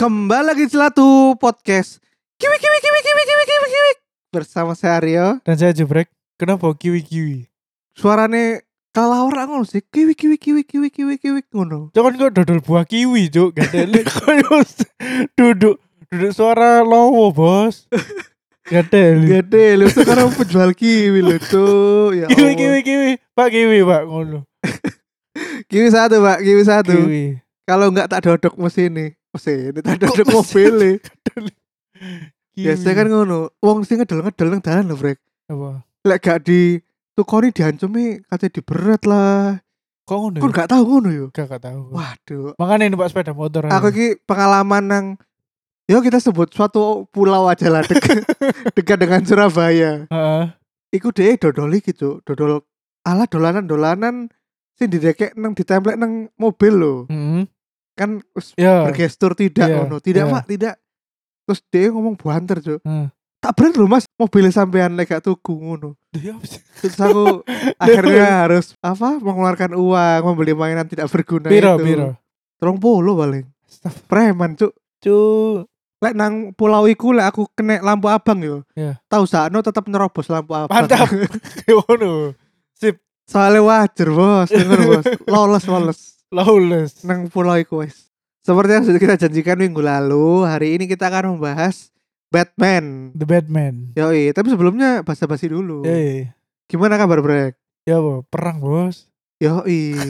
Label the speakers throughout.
Speaker 1: Kembali lagi di Celatu Podcast. Kiwi kiwi kiwi kiwi kiwi kiwi kiwi. Bersama saya Aryo.
Speaker 2: Dan saya Jebrek. Kenapa kiwi-kiwi?
Speaker 1: Suarane kelawar ngono sih. Kiwi kiwi kiwi kiwi kiwi kiwi ngono.
Speaker 2: Cok kan kok dodol buah kiwi, Cok. Gak delek koyo s- duduk duduk suara lowo, Bos. Gak delek.
Speaker 1: Gede lu sekarang penjual kiwi lu tuh. Ya
Speaker 2: Kiwi
Speaker 1: Allah.
Speaker 2: kiwi kiwi. Pak kiwi, Pak ngono.
Speaker 1: Kiwi satu, Pak. Kiwi satu.
Speaker 2: Kiwi.
Speaker 1: Kalau enggak tak dodok mesin nih. Mesin tak dodok
Speaker 2: mesin? Iya.
Speaker 1: mobil.
Speaker 2: Kiwi.
Speaker 1: Biasanya kan ngono. Wong sing ngedel-ngedel nang dalan lho, Brek.
Speaker 2: apa?
Speaker 1: Lek gak di tukoni diancemi katanya diberet lah.
Speaker 2: Kok ngono? ya?
Speaker 1: Kon gak tahu ngono yo.
Speaker 2: gak gak tahu.
Speaker 1: Waduh.
Speaker 2: Makanya numpak sepeda motor.
Speaker 1: aku ki pengalaman nang yo kita sebut suatu pulau aja lah dek- dekat dengan Surabaya
Speaker 2: Heeh.
Speaker 1: iku deh dodoli gitu dodol ala dolanan dolanan sing didekek nang ditemplek nang mobil lo
Speaker 2: Heeh.
Speaker 1: kan us-
Speaker 2: Mm-hmm. Ya.
Speaker 1: bergestur tidak
Speaker 2: Iya,
Speaker 1: ngono tidak
Speaker 2: iya.
Speaker 1: mak tidak terus dia ngomong buanter cuk
Speaker 2: Heeh.
Speaker 1: tak bener lho mas mobilnya sampean lek gak tuku ngono
Speaker 2: Dia apa sih?
Speaker 1: terus aku akhirnya harus apa mengeluarkan uang membeli mainan tidak berguna
Speaker 2: Piro
Speaker 1: itu
Speaker 2: piro.
Speaker 1: terong polo paling
Speaker 2: Astagfirullah.
Speaker 1: preman cuk
Speaker 2: Cuk.
Speaker 1: lek nang pulau iku lek aku kena lampu abang yo.
Speaker 2: Iya.
Speaker 1: Tahu sakno tetep nerobos lampu abang.
Speaker 2: Mantap. Ya, Ngono.
Speaker 1: Soalnya wajar bos, denger bos. Lolos lolos
Speaker 2: Lawless.
Speaker 1: nang pulau iku wis. Seperti yang sudah kita janjikan minggu lalu, hari ini kita akan membahas Batman.
Speaker 2: The Batman.
Speaker 1: Yoi, tapi sebelumnya basa-basi dulu.
Speaker 2: Yoi.
Speaker 1: Gimana kabar Brek?
Speaker 2: Ya, Bo, perang, Bos.
Speaker 1: Yoi.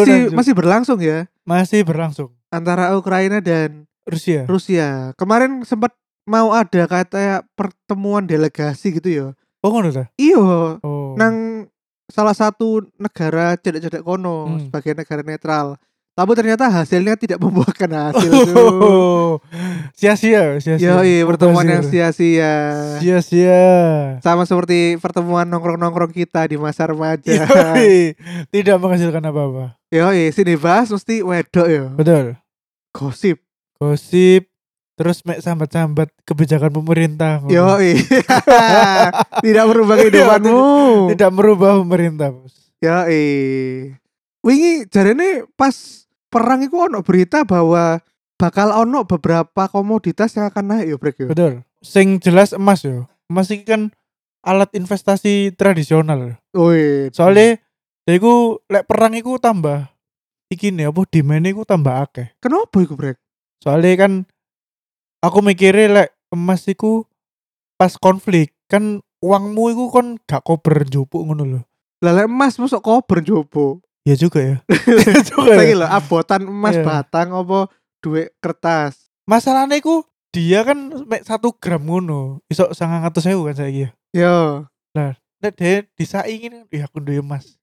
Speaker 1: masih masih berlangsung ya
Speaker 2: masih berlangsung.
Speaker 1: antara Ukraina dan
Speaker 2: Rusia.
Speaker 1: Rusia. Kemarin sempat mau ada kayak pertemuan delegasi gitu ya.
Speaker 2: Oh, ngono ta?
Speaker 1: Iyo,
Speaker 2: Oh.
Speaker 1: nang salah satu negara cedek-cedek kono
Speaker 2: Hmm.
Speaker 1: sebagai negara netral. Tapi ternyata hasilnya tidak membuahkan hasil. tuh.
Speaker 2: Oh. Sia-sia, sia-sia.
Speaker 1: Yoi, Iya, pertemuan
Speaker 2: Mubazir.
Speaker 1: yang sia-sia.
Speaker 2: Iya. Sia-sia.
Speaker 1: Sama seperti pertemuan nongkrong-nongkrong kita di masa remaja.
Speaker 2: Yoi. Tidak menghasilkan apa-apa.
Speaker 1: Yoi, sini bahas mesti wedok ya.
Speaker 2: Betul.
Speaker 1: Gosip.
Speaker 2: Gosip terus mek sambat-sambat kebijakan pemerintah. ngono.
Speaker 1: Yoi. tidak
Speaker 2: Iya,
Speaker 1: merubah kehidupanmu.
Speaker 2: Tidak merubah pemerintah, Bos.
Speaker 1: Yoi. Wingi jarene pas perang itu ono berita bahwa bakal ono beberapa komoditas yang akan naik ya Brek ya.
Speaker 2: Betul. Sing jelas emas yo. Emas iki kan alat investasi tradisional.
Speaker 1: Wih,
Speaker 2: Soalnya dia iku lek perang iku tambah iki nih apa demand iku tambah akeh.
Speaker 1: kenapa iku brek?
Speaker 2: Soalnya kan aku mikirnya lek emas iku pas konflik kan uangmu iku kon gak kober njupuk ngono lho.
Speaker 1: Lah lek emas mosok kober jopo.
Speaker 2: Ya juga ya. juga
Speaker 1: Saiki
Speaker 2: ya.
Speaker 1: lho abotan emas
Speaker 2: Iya.
Speaker 1: batang apa duit kertas.
Speaker 2: Masalahnya iku dia kan mek 1 gram ngono. Iso 900.000 kan saiki ya.
Speaker 1: Yo.
Speaker 2: Nek dia disaingi kan, ya aku duwe emas.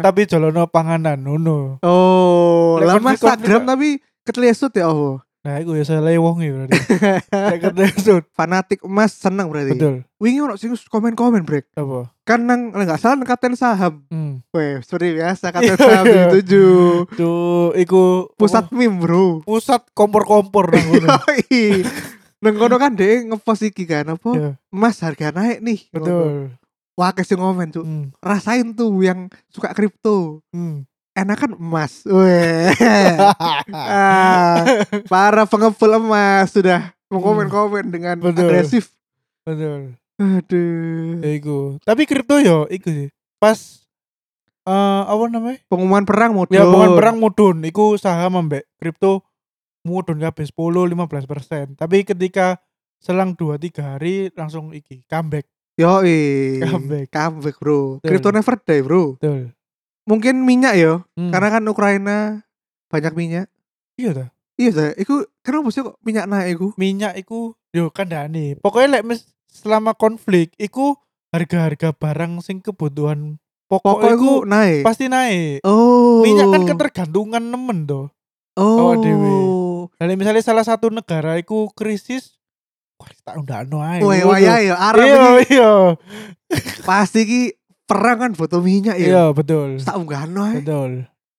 Speaker 1: Lah,
Speaker 2: tapi jolono panganan ngono.
Speaker 1: Oh,
Speaker 2: Lek
Speaker 1: lah
Speaker 2: konflik-
Speaker 1: emas sak
Speaker 2: konflik
Speaker 1: gram
Speaker 2: gak?
Speaker 1: tapi ketelesut ya Allah.
Speaker 2: Nah, iku ya salah wong ya berarti. Lek ketesut.
Speaker 1: Fanatik emas seneng berarti.
Speaker 2: Betul.
Speaker 1: Wingi ono sing komen-komen brek.
Speaker 2: Apa?
Speaker 1: Kan nang lek gak salah nang kapten saham.
Speaker 2: Hmm.
Speaker 1: Weh, seperti biasa kapten saham di tujuh.
Speaker 2: Duh, iku
Speaker 1: pusat
Speaker 2: apa?
Speaker 1: meme bro
Speaker 2: pusat kompor-kompor nang ngono.
Speaker 1: Yoi. neng kono kan deh ngepost iki kan apa
Speaker 2: Iya,
Speaker 1: mas harga naik nih
Speaker 2: Betul.
Speaker 1: wah kasih komen tuh
Speaker 2: Hmm.
Speaker 1: rasain tuh yang suka kripto
Speaker 2: Hmm.
Speaker 1: enakan kan emas Weh. Ah, para pengepul emas sudah mengkomen-komen dengan
Speaker 2: Hmm. Betul.
Speaker 1: agresif
Speaker 2: Betul. Ya
Speaker 1: aduh
Speaker 2: iku. Tapi kripto yo iku sih. Pas eh apa namanya?
Speaker 1: pengumuman perang mau
Speaker 2: Ya bukan perang mudun, iku saham ambek kripto mudun kabeh 10 15%. Tapi ketika selang 2 3 hari langsung iki comeback.
Speaker 1: yoi
Speaker 2: Comeback.
Speaker 1: comeback bro
Speaker 2: Betul.
Speaker 1: kripto never die bro
Speaker 2: Betul.
Speaker 1: mungkin minyak yo
Speaker 2: Hmm.
Speaker 1: karena kan Ukraina banyak minyak
Speaker 2: iya ta.
Speaker 1: Iya saya, iku kenapa sih kok minyak naik iku?
Speaker 2: Minyak iku yo kandhane. Pokoknya lek mes- selama konflik iku harga-harga barang sing kebutuhan pokok,
Speaker 1: Pokoknya
Speaker 2: iku
Speaker 1: iku naik.
Speaker 2: pasti naik.
Speaker 1: oh.
Speaker 2: Minyak kan ketergantungan nemen toh.
Speaker 1: Oh.
Speaker 2: awak dhewe. Nah, lek misalnya salah satu negara iku krisis, wah tak undakno ae.
Speaker 1: Wah,
Speaker 2: Ngono.
Speaker 1: waya ya Arab
Speaker 2: Iya,
Speaker 1: ini
Speaker 2: iya.
Speaker 1: pasti ki perang kan butuh minyak
Speaker 2: Iya,
Speaker 1: ya.
Speaker 2: betul.
Speaker 1: Tak eh. unggahno ae.
Speaker 2: Betul.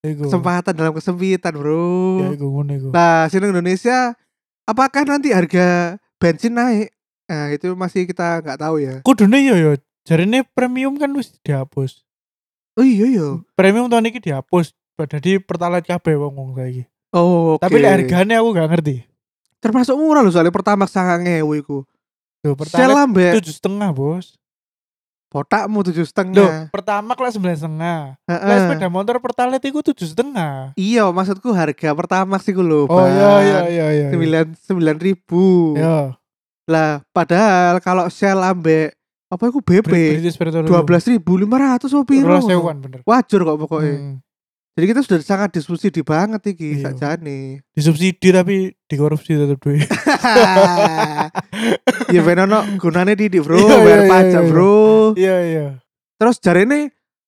Speaker 2: Iku.
Speaker 1: Kesempatan dalam kesempitan,
Speaker 2: Ya
Speaker 1: Bro.
Speaker 2: iku ngono iku.
Speaker 1: Nah, sini Indonesia apakah nanti harga bensin naik? Nah, itu masih kita nggak tahu ya.
Speaker 2: Kudune yo yo jarine premium kan wis dihapus.
Speaker 1: Oh iya iya.
Speaker 2: Premium tahun iki dihapus. Jadi pertalite kabeh wong-wong saiki.
Speaker 1: Oh, oke.
Speaker 2: Tapi lek regane aku gak ngerti.
Speaker 1: termasuk murah loh soalnya pertama sangat ngewu iku.
Speaker 2: Duh, pertama
Speaker 1: Sel ambek
Speaker 2: tujuh setengah bos.
Speaker 1: potakmu tujuh
Speaker 2: Duh,
Speaker 1: setengah.
Speaker 2: pertama kelas sembilan setengah.
Speaker 1: Heeh.
Speaker 2: Kelas sepeda motor pertalite itu tujuh setengah.
Speaker 1: Iya, maksudku harga pertama sih lho.
Speaker 2: Oh iya iya iya iya.
Speaker 1: Sembilan sembilan ribu.
Speaker 2: Iya.
Speaker 1: Lah, padahal kalau sel ambek apa itu BP
Speaker 2: British Petrol.
Speaker 1: dua belas ribu Oh, iya. lima ratus
Speaker 2: Rolas hewan bener.
Speaker 1: Wajar kok pokoknya.
Speaker 2: Hmm.
Speaker 1: Jadi kita sudah sangat disubsidi banget iki
Speaker 2: Iya.
Speaker 1: sakjane.
Speaker 2: Disubsidi tapi dikorupsi tetap duit.
Speaker 1: ya ben ono gunane didik, Bro,
Speaker 2: Iya, iya,
Speaker 1: bayar
Speaker 2: iya,
Speaker 1: pajak,
Speaker 2: iya.
Speaker 1: Bro.
Speaker 2: Iya iya.
Speaker 1: Terus jarene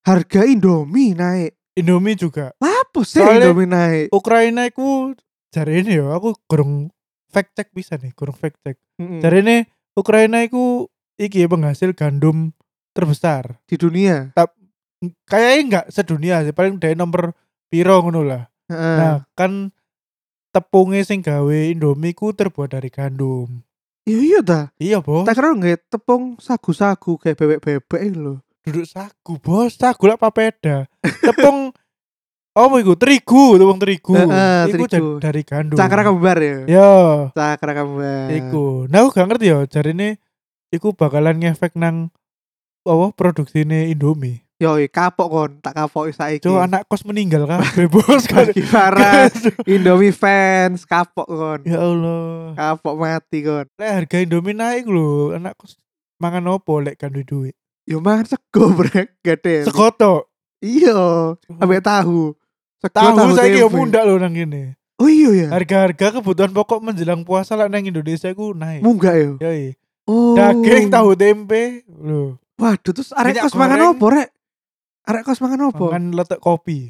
Speaker 1: harga Indomie naik.
Speaker 2: Indomie juga.
Speaker 1: Apa sih
Speaker 2: Soalnya-
Speaker 1: Indomie naik?
Speaker 2: Ukraina iku jari ini ya aku kurang fact check bisa nih, kurang fact check.
Speaker 1: Mm-mm.
Speaker 2: Jari ini Ukraina iku iki ya, penghasil gandum terbesar.
Speaker 1: di dunia.
Speaker 2: Kayaknya enggak sedunia sih, paling dari nomor piro ngono lah.
Speaker 1: Heeh.
Speaker 2: Nah, kan tepungnya sing gawe Indomie ku terbuat dari gandum.
Speaker 1: Iya iya ta.
Speaker 2: Iya, Bos.
Speaker 1: Tak kira nggak tepung sagu-sagu kayak bebek-bebek itu loh.
Speaker 2: Duduk sagu, Bos. Sagu lak papeda. Tepung Oh, iku terigu, tepung terigu.
Speaker 1: Heeh,
Speaker 2: iku
Speaker 1: terigu.
Speaker 2: da- dari gandum.
Speaker 1: Cakra kembar ya.
Speaker 2: Ya,
Speaker 1: Cakra kembar.
Speaker 2: iku. Nah, aku gak ngerti ya, jarine iku bakalan ngefek nang apa produksine Indomie.
Speaker 1: Yoi, iya, kapok kon, tak kapok saiki.
Speaker 2: Cuk, anak kos meninggal kabeh, Bos.
Speaker 1: Bagi para Indomie fans kapok kon.
Speaker 2: ya Allah.
Speaker 1: Kapok mati kon.
Speaker 2: Lek harga Indomie naik lho, anak kos mangan opo lek kan duwe duit.
Speaker 1: Yo mangan sego brek, gede.
Speaker 2: Sekotok.
Speaker 1: Iya, ambek tahu. Sego,
Speaker 2: Oh. tahu saya
Speaker 1: tempe.
Speaker 2: dia mundak loh nang ini
Speaker 1: Oh iya ya.
Speaker 2: harga-harga kebutuhan pokok menjelang puasa lah nang Indonesia ku naik
Speaker 1: Munggah yo.
Speaker 2: Yoi.
Speaker 1: Oh.
Speaker 2: daging tahu tempe loh
Speaker 1: Waduh, terus arek
Speaker 2: Minyak
Speaker 1: kos mangan
Speaker 2: goreng.
Speaker 1: opo rek? Arek kos mangan opo?
Speaker 2: makan letak kopi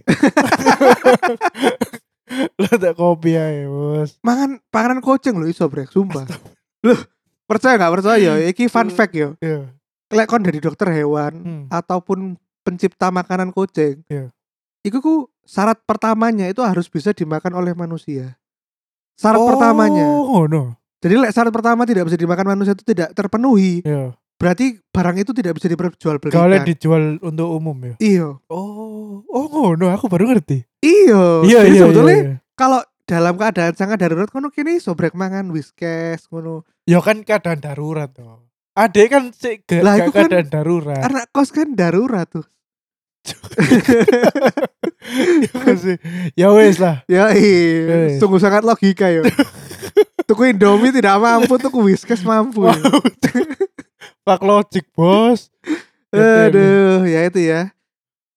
Speaker 2: letak kopi ae bos
Speaker 1: mangan panganan koceng lho iso brek sumpah loh percaya nggak percaya iki fun fact yo
Speaker 2: ya
Speaker 1: lek kon dari dokter hewan
Speaker 2: hmm.
Speaker 1: ataupun pencipta makanan koceng
Speaker 2: Iya.
Speaker 1: iku ku syarat pertamanya itu harus bisa dimakan oleh manusia syarat pertamanya
Speaker 2: oh no
Speaker 1: jadi lek syarat pertama tidak bisa dimakan manusia itu tidak terpenuhi
Speaker 2: ya
Speaker 1: berarti barang itu tidak bisa
Speaker 2: kalau
Speaker 1: diperjualbelikan
Speaker 2: dijual untuk umum ya
Speaker 1: iyo
Speaker 2: oh oh ngono aku baru ngerti
Speaker 1: iyo
Speaker 2: iya
Speaker 1: Jadi
Speaker 2: iya
Speaker 1: Oh, sebetulnya
Speaker 2: iya, iya.
Speaker 1: kalau dalam keadaan sangat darurat kono kini iso brek mangan whiskes ngono
Speaker 2: ya kan keadaan darurat toh Ade kan sik gak
Speaker 1: Lah,
Speaker 2: gak
Speaker 1: iku kan-
Speaker 2: keadaan darurat
Speaker 1: anak kos kan darurat tuh
Speaker 2: ya wes lah
Speaker 1: Ya
Speaker 2: Wes.
Speaker 1: iya, sungguh sangat logika ya. tuku Indomie tidak mampu, tuku Whiskas mampu. ya.
Speaker 2: Pak logic bos.
Speaker 1: Aduh, ya itu ya.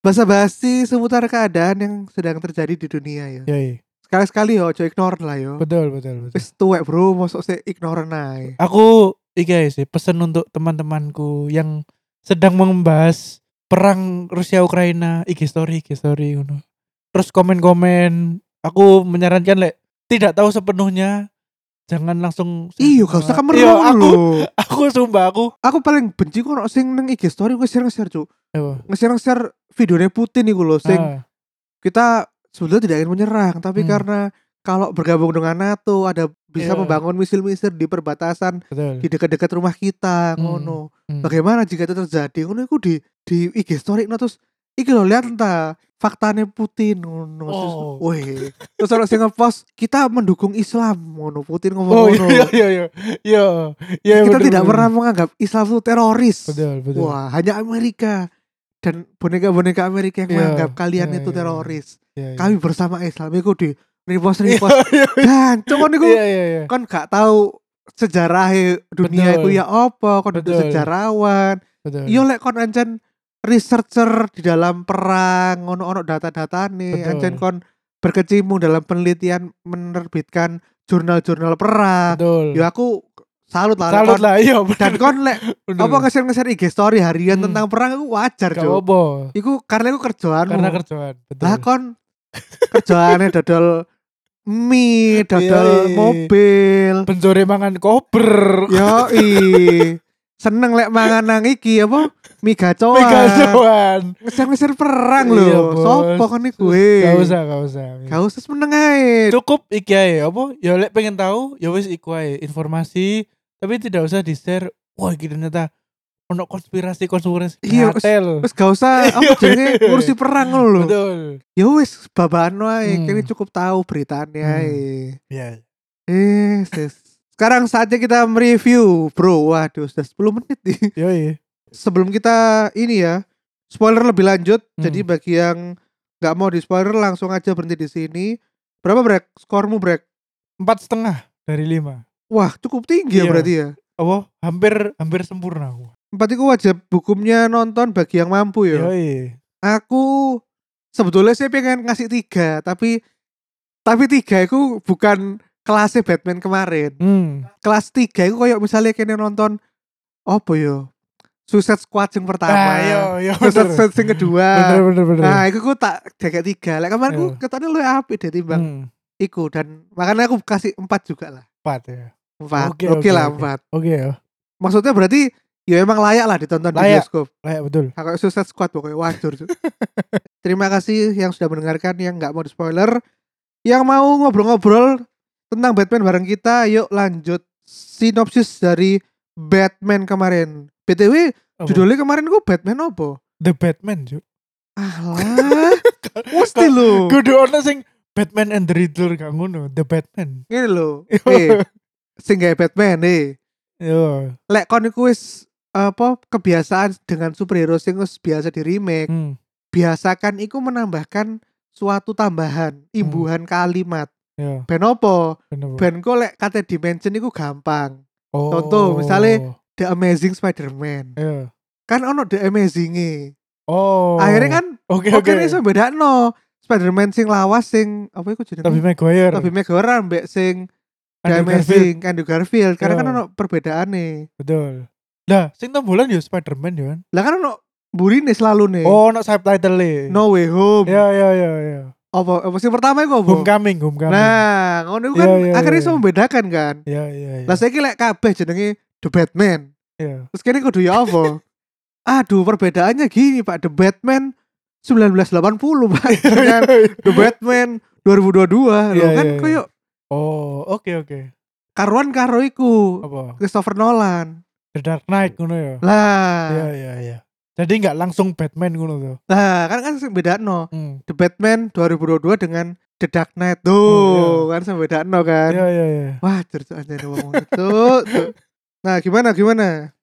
Speaker 1: Bahasa basi seputar keadaan yang sedang terjadi di dunia ya.
Speaker 2: Ya iya.
Speaker 1: Sekali-sekali ya ojo ignore lah ya.
Speaker 2: betul betul betul.
Speaker 1: Wis tuwek bro, mosok sik ignore ae.
Speaker 2: Aku iki ae sih pesan untuk teman-temanku yang sedang membahas perang Rusia Ukraina, iki story iki story ngono. Terus komen-komen, aku menyarankan lek tidak tahu sepenuhnya jangan langsung
Speaker 1: Iya, gak usah
Speaker 2: Iya,
Speaker 1: kemeru
Speaker 2: aku
Speaker 1: lho.
Speaker 2: aku sumpah aku.
Speaker 1: Aku paling benci kok nek sing nang IG story nge-share-share, Cuk.
Speaker 2: Apa?
Speaker 1: Nge-share-share videonya Putin iku lho sing
Speaker 2: Ah,
Speaker 1: kita sebetulnya tidak ingin menyerang tapi
Speaker 2: Hmm.
Speaker 1: karena kalau bergabung dengan NATO ada bisa
Speaker 2: Iya.
Speaker 1: membangun misil-misil di perbatasan
Speaker 2: betul.
Speaker 1: di dekat-dekat rumah kita
Speaker 2: Hmm.
Speaker 1: ngono
Speaker 2: Hmm.
Speaker 1: bagaimana jika itu terjadi ngono itu di di IG story no, terus iki lo lihat entah faktanya Putin ngono terus
Speaker 2: Oh.
Speaker 1: weh terus orang sing ngepost kita mendukung Islam ngono Putin ngomong
Speaker 2: Oh
Speaker 1: ngono
Speaker 2: iya iya iya. Iya. Iya,
Speaker 1: kita
Speaker 2: betul,
Speaker 1: tidak
Speaker 2: betul.
Speaker 1: pernah menganggap Islam itu teroris
Speaker 2: Betul betul.
Speaker 1: wah hanya Amerika dan boneka-boneka Amerika yang
Speaker 2: Iya,
Speaker 1: menganggap kalian
Speaker 2: iya,
Speaker 1: itu
Speaker 2: iya.
Speaker 1: teroris
Speaker 2: Iya, iya.
Speaker 1: kami bersama Islam iku di repost repost
Speaker 2: Iya,
Speaker 1: dan cuman iku
Speaker 2: Iya iya iya.
Speaker 1: kan gak tahu sejarah dunia iku
Speaker 2: Betul.
Speaker 1: ya apa kon duduk
Speaker 2: Betul.
Speaker 1: sejarawan
Speaker 2: Betul.
Speaker 1: yo lek kon ancen researcher di dalam perang ngono-ono data-data nih
Speaker 2: Betul.
Speaker 1: ancen kon berkecimpung dalam penelitian menerbitkan jurnal-jurnal perang
Speaker 2: Betul.
Speaker 1: yo aku salut lah lek
Speaker 2: Salut
Speaker 1: kon-
Speaker 2: lah, iya.
Speaker 1: iya, dan kon lek
Speaker 2: bener.
Speaker 1: apa nge-share-nge-share IG story harian
Speaker 2: Hmm.
Speaker 1: tentang perang iku wajar
Speaker 2: Gak
Speaker 1: Cuk.
Speaker 2: apa.
Speaker 1: Iku karena iku kerjaanmu.
Speaker 2: Karena kerjaan. Betul.
Speaker 1: Lah kon kerjaannya dodol mie, dodol
Speaker 2: Yoi.
Speaker 1: mobil.
Speaker 2: Benjore mangan kober.
Speaker 1: Iya, Yoi. Seneng lek mangan nang iki apa? Mie gacoan.
Speaker 2: Megasoan.
Speaker 1: Ngeser-ngeser perang
Speaker 2: Iya,
Speaker 1: lho.
Speaker 2: Bos.
Speaker 1: Sopo kon iku?
Speaker 2: Gak
Speaker 1: eh?
Speaker 2: usah, gak usah.
Speaker 1: Gak usah seneng ae.
Speaker 2: Cukup iki ae apa? Ya lek pengen tahu, ya wis iku ae informasi, tapi tidak usah di-share. Wah, iki ternyata ono konspirasi konspirasi
Speaker 1: Iya,
Speaker 2: gatel.
Speaker 1: Wes gak usah apa jenenge ngurusi perang ngono lho.
Speaker 2: Betul.
Speaker 1: Ya wis babano ae,
Speaker 2: Hmm.
Speaker 1: kene cukup tahu beritanya ae.
Speaker 2: Ya.
Speaker 1: Eh, sis. Sekarang saatnya kita mereview, Bro. Waduh, sudah 10 menit nih.
Speaker 2: Yoi.
Speaker 1: Sebelum kita ini ya, spoiler lebih lanjut.
Speaker 2: Hmm.
Speaker 1: Jadi bagi yang nggak mau di spoiler langsung aja berhenti di sini. Berapa break? Skormu break?
Speaker 2: Empat setengah dari lima.
Speaker 1: Wah, cukup tinggi ya
Speaker 2: Iya.
Speaker 1: berarti ya.
Speaker 2: Apa? Hampir hampir sempurna aku.
Speaker 1: Empat itu wajib hukumnya nonton bagi yang mampu ya.
Speaker 2: Yoi.
Speaker 1: Aku sebetulnya sih pengen ngasih tiga, tapi tapi tiga itu bukan kelasnya Batman kemarin.
Speaker 2: Hmm.
Speaker 1: Kelas tiga itu kayak misalnya kene nonton apa yo? Suicide Squad yang pertama.
Speaker 2: Ah, yo, yo.
Speaker 1: Suicide
Speaker 2: bener.
Speaker 1: Squad yang kedua.
Speaker 2: Bener bener bener.
Speaker 1: Nah, itu ku tak jaga tiga. Lah kemarin ku
Speaker 2: Iya.
Speaker 1: ketone lu apik deh timbang
Speaker 2: Hmm,
Speaker 1: iku dan makanya aku kasih empat juga lah.
Speaker 2: Empat ya.
Speaker 1: Empat. Oke
Speaker 2: Oke, oke,
Speaker 1: lah
Speaker 2: oke.
Speaker 1: empat.
Speaker 2: Oke ya.
Speaker 1: Maksudnya berarti ya emang layak lah ditonton di
Speaker 2: Layak.
Speaker 1: bioskop.
Speaker 2: Layak betul.
Speaker 1: Nah, Kayak Suicide Squad pokoknya wajar. Cuk. Terima kasih yang sudah mendengarkan yang nggak mau di spoiler. Yang mau ngobrol-ngobrol tentang Batman bareng kita, yuk lanjut sinopsis dari Batman kemarin. BTW
Speaker 2: Apa?
Speaker 1: judulnya kemarin gue Batman apa?
Speaker 2: The Batman cuy.
Speaker 1: Alah, mesti lo.
Speaker 2: Kudu ono sing Batman and the Riddler gak ngono, The Batman.
Speaker 1: Gini lo. Eh, sing gawe Batman nih.
Speaker 2: Yo.
Speaker 1: Lek kon iku wis apa kebiasaan dengan superhero sing wis biasa di remake.
Speaker 2: Hmm.
Speaker 1: biasakan iku menambahkan suatu tambahan
Speaker 2: Hmm.
Speaker 1: imbuhan kalimat
Speaker 2: Yo.
Speaker 1: ben opo
Speaker 2: Bener. bener.
Speaker 1: ben kok lek kata dimension iku gampang
Speaker 2: Oh.
Speaker 1: contoh, misalnya- The Amazing Spider-Man
Speaker 2: Yo.
Speaker 1: kan ono The Amazing
Speaker 2: Oh.
Speaker 1: akhirnya kan
Speaker 2: Oke
Speaker 1: oke
Speaker 2: oke.
Speaker 1: okay. iso bedakno Spider-Man sing lawas sing apa iku jenenge
Speaker 2: Tapi Maguire.
Speaker 1: tapi Maguire ambek sing The
Speaker 2: Andrew Garfield. Oh.
Speaker 1: Amazing Andrew Garfield karena kan
Speaker 2: Yo.
Speaker 1: ono perbedaane
Speaker 2: Betul. Nah, sing tombolan yo Spider-Man yo kan.
Speaker 1: lah kan ono burine selalu nih
Speaker 2: Oh, ono subtitle-e.
Speaker 1: No Way Home
Speaker 2: Ya ya ya ya.
Speaker 1: apa apa sing pertama iku apa
Speaker 2: Homecoming, Ya, homecoming.
Speaker 1: nah ngono iku kan
Speaker 2: Yo, yo,
Speaker 1: akhirnya
Speaker 2: yo.
Speaker 1: iso membedakan kan
Speaker 2: Ya ya ya.
Speaker 1: Lah saiki lek kabeh jenenge The Batman.
Speaker 2: Ya.
Speaker 1: Terus kene kudu ya apa? Aduh, perbedaannya gini, Pak. The Batman 1980, Pak. Dengan The Batman 2022. Loh
Speaker 2: Iya,
Speaker 1: kan
Speaker 2: iya, iya.
Speaker 1: koyo
Speaker 2: Oh, oke oke.
Speaker 1: karuan karo iku.
Speaker 2: Apa?
Speaker 1: Christopher Nolan.
Speaker 2: The Dark Knight ngono ya. Ya
Speaker 1: Lah,
Speaker 2: ya ya. Jadi nggak langsung Batman ngono tuh.
Speaker 1: lah kan kan sing bedakno
Speaker 2: Hmm.
Speaker 1: The Batman 2022 dengan The Dark Knight. Tuh,
Speaker 2: Oh,
Speaker 1: kan sing bedakno kan.
Speaker 2: Ya ya ya.
Speaker 1: Wah, jeruk anjir wong itu. Cuk. Nah, gimana gimana?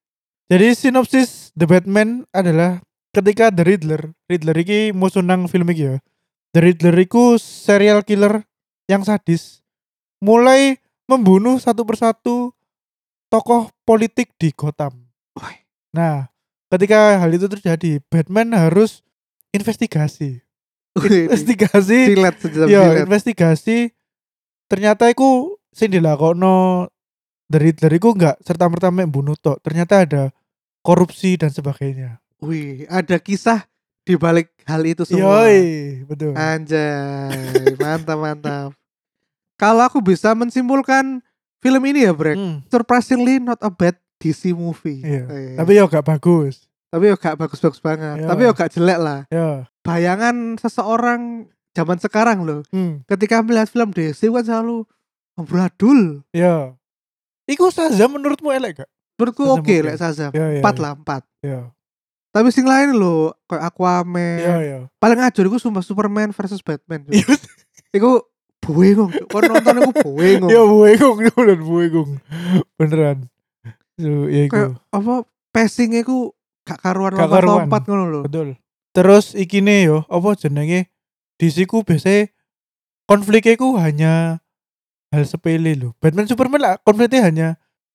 Speaker 2: Jadi sinopsis The Batman adalah ketika The Riddler, Riddler iki musuh nang film iki ya. The Riddler iku serial killer yang sadis. Mulai membunuh satu persatu tokoh politik di Gotham.
Speaker 1: Wah.
Speaker 2: Nah, ketika hal itu terjadi, Batman harus investigasi. Investigasi
Speaker 1: Silet sejam
Speaker 2: ya
Speaker 1: silet.
Speaker 2: investigasi ternyata iku sing dilakokno The Riddler iku enggak serta merta mek bunuh tok. Ternyata ada korupsi dan sebagainya.
Speaker 1: Wih, ada kisah di balik hal itu semua.
Speaker 2: Yoi, betul.
Speaker 1: Anjay, mantap mantap. Kalau aku bisa mensimpulkan film ini ya, Brek.
Speaker 2: Hmm,
Speaker 1: Surprisingly not a bad DC movie.
Speaker 2: Iya,
Speaker 1: Eh,
Speaker 2: Tapi ya gak bagus.
Speaker 1: tapi ya gak bagus-bagus banget.
Speaker 2: Iya.
Speaker 1: Tapi ya gak jelek lah.
Speaker 2: Ya.
Speaker 1: Bayangan seseorang zaman sekarang loh,
Speaker 2: Hmm,
Speaker 1: ketika melihat film DC kan selalu amburadul.
Speaker 2: ya. Iku saja menurutmu elek gak?
Speaker 1: Menurutku
Speaker 2: Shazam
Speaker 1: oke,
Speaker 2: oke.
Speaker 1: lek Shazam.
Speaker 2: Ya, ya.
Speaker 1: Empat lah, empat.
Speaker 2: Ya.
Speaker 1: Tapi sing lain loh, kayak Aquaman.
Speaker 2: Ya, ya.
Speaker 1: Paling ajur iku sumpah Superman versus Batman. cuy.
Speaker 2: Iya.
Speaker 1: Iku bengong. Cuk. Kon nonton iku bengong.
Speaker 2: Ya buegung, beneran buegung. Beneran. Tuh, ya iku.
Speaker 1: Kayak apa passing iku gak karuan
Speaker 2: Gak
Speaker 1: lompat-lompat ngono lho.
Speaker 2: Betul. Terus iki nih yo, apa jenenge? DC ku biasanya konfliknya ku hanya hal sepele lho. Batman Superman lah konfliknya hanya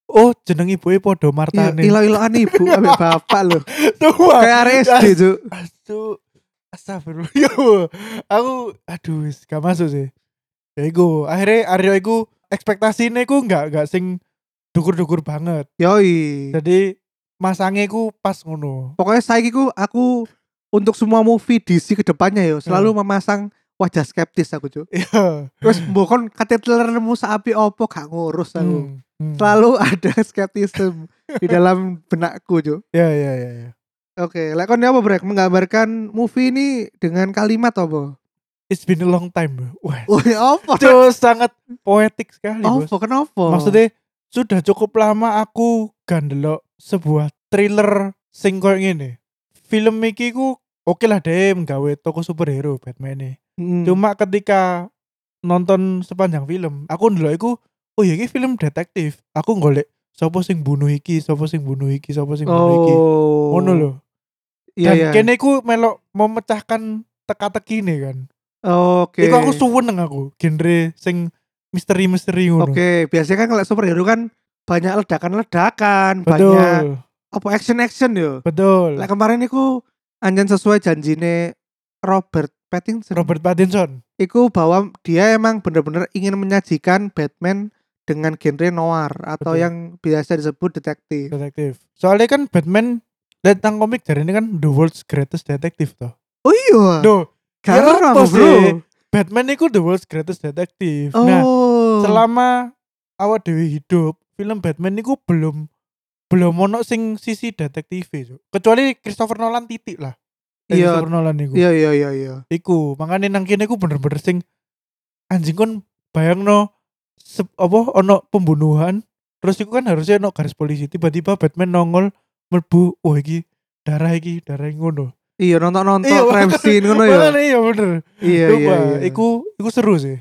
Speaker 2: oh jeneng ibu podo
Speaker 1: Iya,
Speaker 2: martane.
Speaker 1: ilo-iloan ibu ambek bapak lho.
Speaker 2: Tua.
Speaker 1: Kayak arek
Speaker 2: iya.
Speaker 1: SD, Cuk.
Speaker 2: Astu. Astagfirullah. Yo, aku aduh wis gak masuk sih. Ya iku, akhirnya Aryo iku ekspektasine ku nggak nggak sing dukur-dukur banget.
Speaker 1: Yoi.
Speaker 2: Jadi masangnya ku pas ngono.
Speaker 1: Pokoknya saiki ku aku untuk semua movie DC ke depannya yo selalu
Speaker 2: Hmm.
Speaker 1: memasang wajah skeptis aku, Cuk.
Speaker 2: Iya.
Speaker 1: Terus mbokon kate telermu sapi opo gak ngurus aku.
Speaker 2: Hmm, hmm.
Speaker 1: Selalu ada skeptisisme di dalam benakku, Cuk.
Speaker 2: Ya ya ya ya.
Speaker 1: Oke, lek kon ya apa brek menggambarkan movie ini dengan kalimat apa?
Speaker 2: It's been a long time. Wah,
Speaker 1: Oh, apa?
Speaker 2: itu sangat poetik sekali, Bos.
Speaker 1: Apa kenapa?
Speaker 2: Maksudnya sudah cukup lama aku gandelok sebuah thriller sing koyo ngene. Film iki ku oke lah deh nggawe toko superhero Batman ini.
Speaker 1: Mm.
Speaker 2: Cuma ketika nonton sepanjang film, aku ndelok iku oh ya iki film detektif. Aku golek sapa sing bunuh iki, sapa sing bunuh iki, sapa sing bunuh iki.
Speaker 1: oh
Speaker 2: Ngono lho.
Speaker 1: iya
Speaker 2: Dan
Speaker 1: iya
Speaker 2: kene iku melok memecahkan teka-teki nih kan.
Speaker 1: oke
Speaker 2: Iku aku suweneng aku genre sing misteri-misteri ngono.
Speaker 1: oke biasanya kan kalau superhero kan banyak ledakan-ledakan
Speaker 2: Betul.
Speaker 1: banyak apa action-action yo
Speaker 2: Betul.
Speaker 1: lah kemarin iku anjen sesuai janjine Robert Pattinson
Speaker 2: Robert Pattinson.
Speaker 1: iku bahwa dia emang bener-bener ingin menyajikan Batman dengan genre noir atau
Speaker 2: Betul.
Speaker 1: yang biasa disebut detektif.
Speaker 2: detektif. Soalnya kan Batman datang komik dari ini kan the world's greatest detective toh.
Speaker 1: Oh iya,
Speaker 2: Duh,
Speaker 1: gak
Speaker 2: iya,
Speaker 1: ngerti,
Speaker 2: apa
Speaker 1: bro.
Speaker 2: sih? Batman itu the world's greatest detective.
Speaker 1: Oh,
Speaker 2: Nah, selama awak dewi hidup, film Batman itu belum belum ono sing sisi detektif Cuk. Kecuali Christopher Nolan titik lah. Eh,
Speaker 1: Iya.
Speaker 2: Christopher Nolan iku.
Speaker 1: iya iya iya iya.
Speaker 2: Iku, makanya nang kene iku bener-bener sing anjing kon bayangno sep- apa ono pembunuhan terus iku kan harusnya ono garis polisi tiba-tiba Batman nongol melbu wah iki darah iki darah yang ngono
Speaker 1: Iya nonton-nonton
Speaker 2: Iya,
Speaker 1: crime
Speaker 2: bener.
Speaker 1: scene ngono ya.
Speaker 2: Makanya iya bener
Speaker 1: Iya iya
Speaker 2: Coba,
Speaker 1: iya.
Speaker 2: iku iku seru sih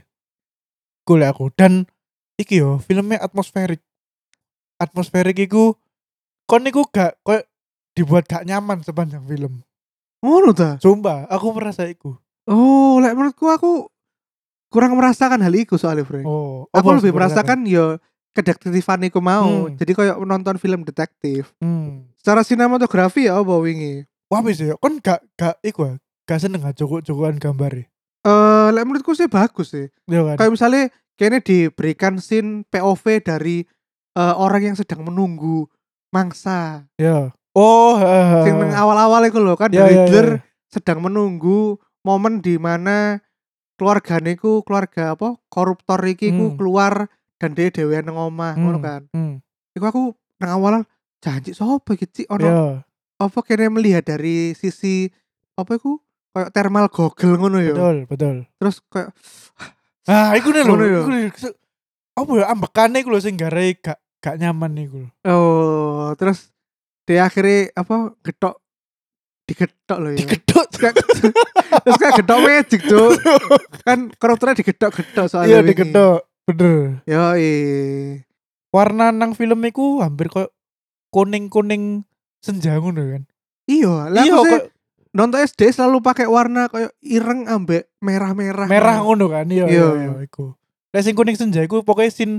Speaker 2: golek aku dan iki yo filmnya atmosferik atmosferik iku kon iku gak koyo dibuat gak nyaman sepanjang film
Speaker 1: Ngono ta?
Speaker 2: sumpah aku merasa iku
Speaker 1: Oh, lek menurutku aku kurang merasakan hal itu soalnya, Frank.
Speaker 2: oh
Speaker 1: aku
Speaker 2: apa
Speaker 1: lebih
Speaker 2: sebenarnya?
Speaker 1: merasakan yo kedektifan iku mau.
Speaker 2: Hmm.
Speaker 1: Jadi kayak menonton film detektif.
Speaker 2: hmm.
Speaker 1: Secara sinematografi ya apa wingi?
Speaker 2: Wah wis ya, kon gak gak iku ya, gak seneng gak cokok-cokokan gambare.
Speaker 1: Eh, lek menurutku sih bagus sih.
Speaker 2: e. Iya kan?
Speaker 1: kayak misalnya kayaknya diberikan scene POV dari eh, orang yang sedang menunggu mangsa
Speaker 2: Iya. Oh, heeh.
Speaker 1: sing neng awal-awal itu loh kan
Speaker 2: Iya, iya,
Speaker 1: Hitler
Speaker 2: iya.
Speaker 1: sedang menunggu momen di mana keluargane ku keluarga apa koruptor iki ku
Speaker 2: Hmm.
Speaker 1: keluar dan dia dewean nang omah ngono
Speaker 2: Hmm,
Speaker 1: kan
Speaker 2: hmm,
Speaker 1: iku aku nang awalan janji sapa iki Cik? ono
Speaker 2: Iya,
Speaker 1: apa kene melihat dari sisi apa iku kayak thermal goggle ngono ya
Speaker 2: betul, betul.
Speaker 1: terus kayak
Speaker 2: Ah, iku nih lho.
Speaker 1: Ngono ya.
Speaker 2: Iku nih, se- Apa ya ambekane iku lho sing garai gak gak nyaman iku lho.
Speaker 1: Oh, terus dia akhirnya apa getok digetok
Speaker 2: Iya.
Speaker 1: loh ya.
Speaker 2: Digedot.
Speaker 1: Kayak- terus kayak getok magic tuh kan karakternya digetok-getok soalnya
Speaker 2: Iya, digedot. Bener.
Speaker 1: yo
Speaker 2: Warna nang film iku hampir koyo kuning-kuning senja ngono kan.
Speaker 1: iya lah
Speaker 2: Iya,
Speaker 1: aku sih
Speaker 2: koyo
Speaker 1: nonton SD selalu pakai warna kayak ireng ambek merah-merah
Speaker 2: merah ngono kan. Iya,
Speaker 1: Iya.
Speaker 2: iya, iya, iku. Lah sing kuning senja iku pokoknya sin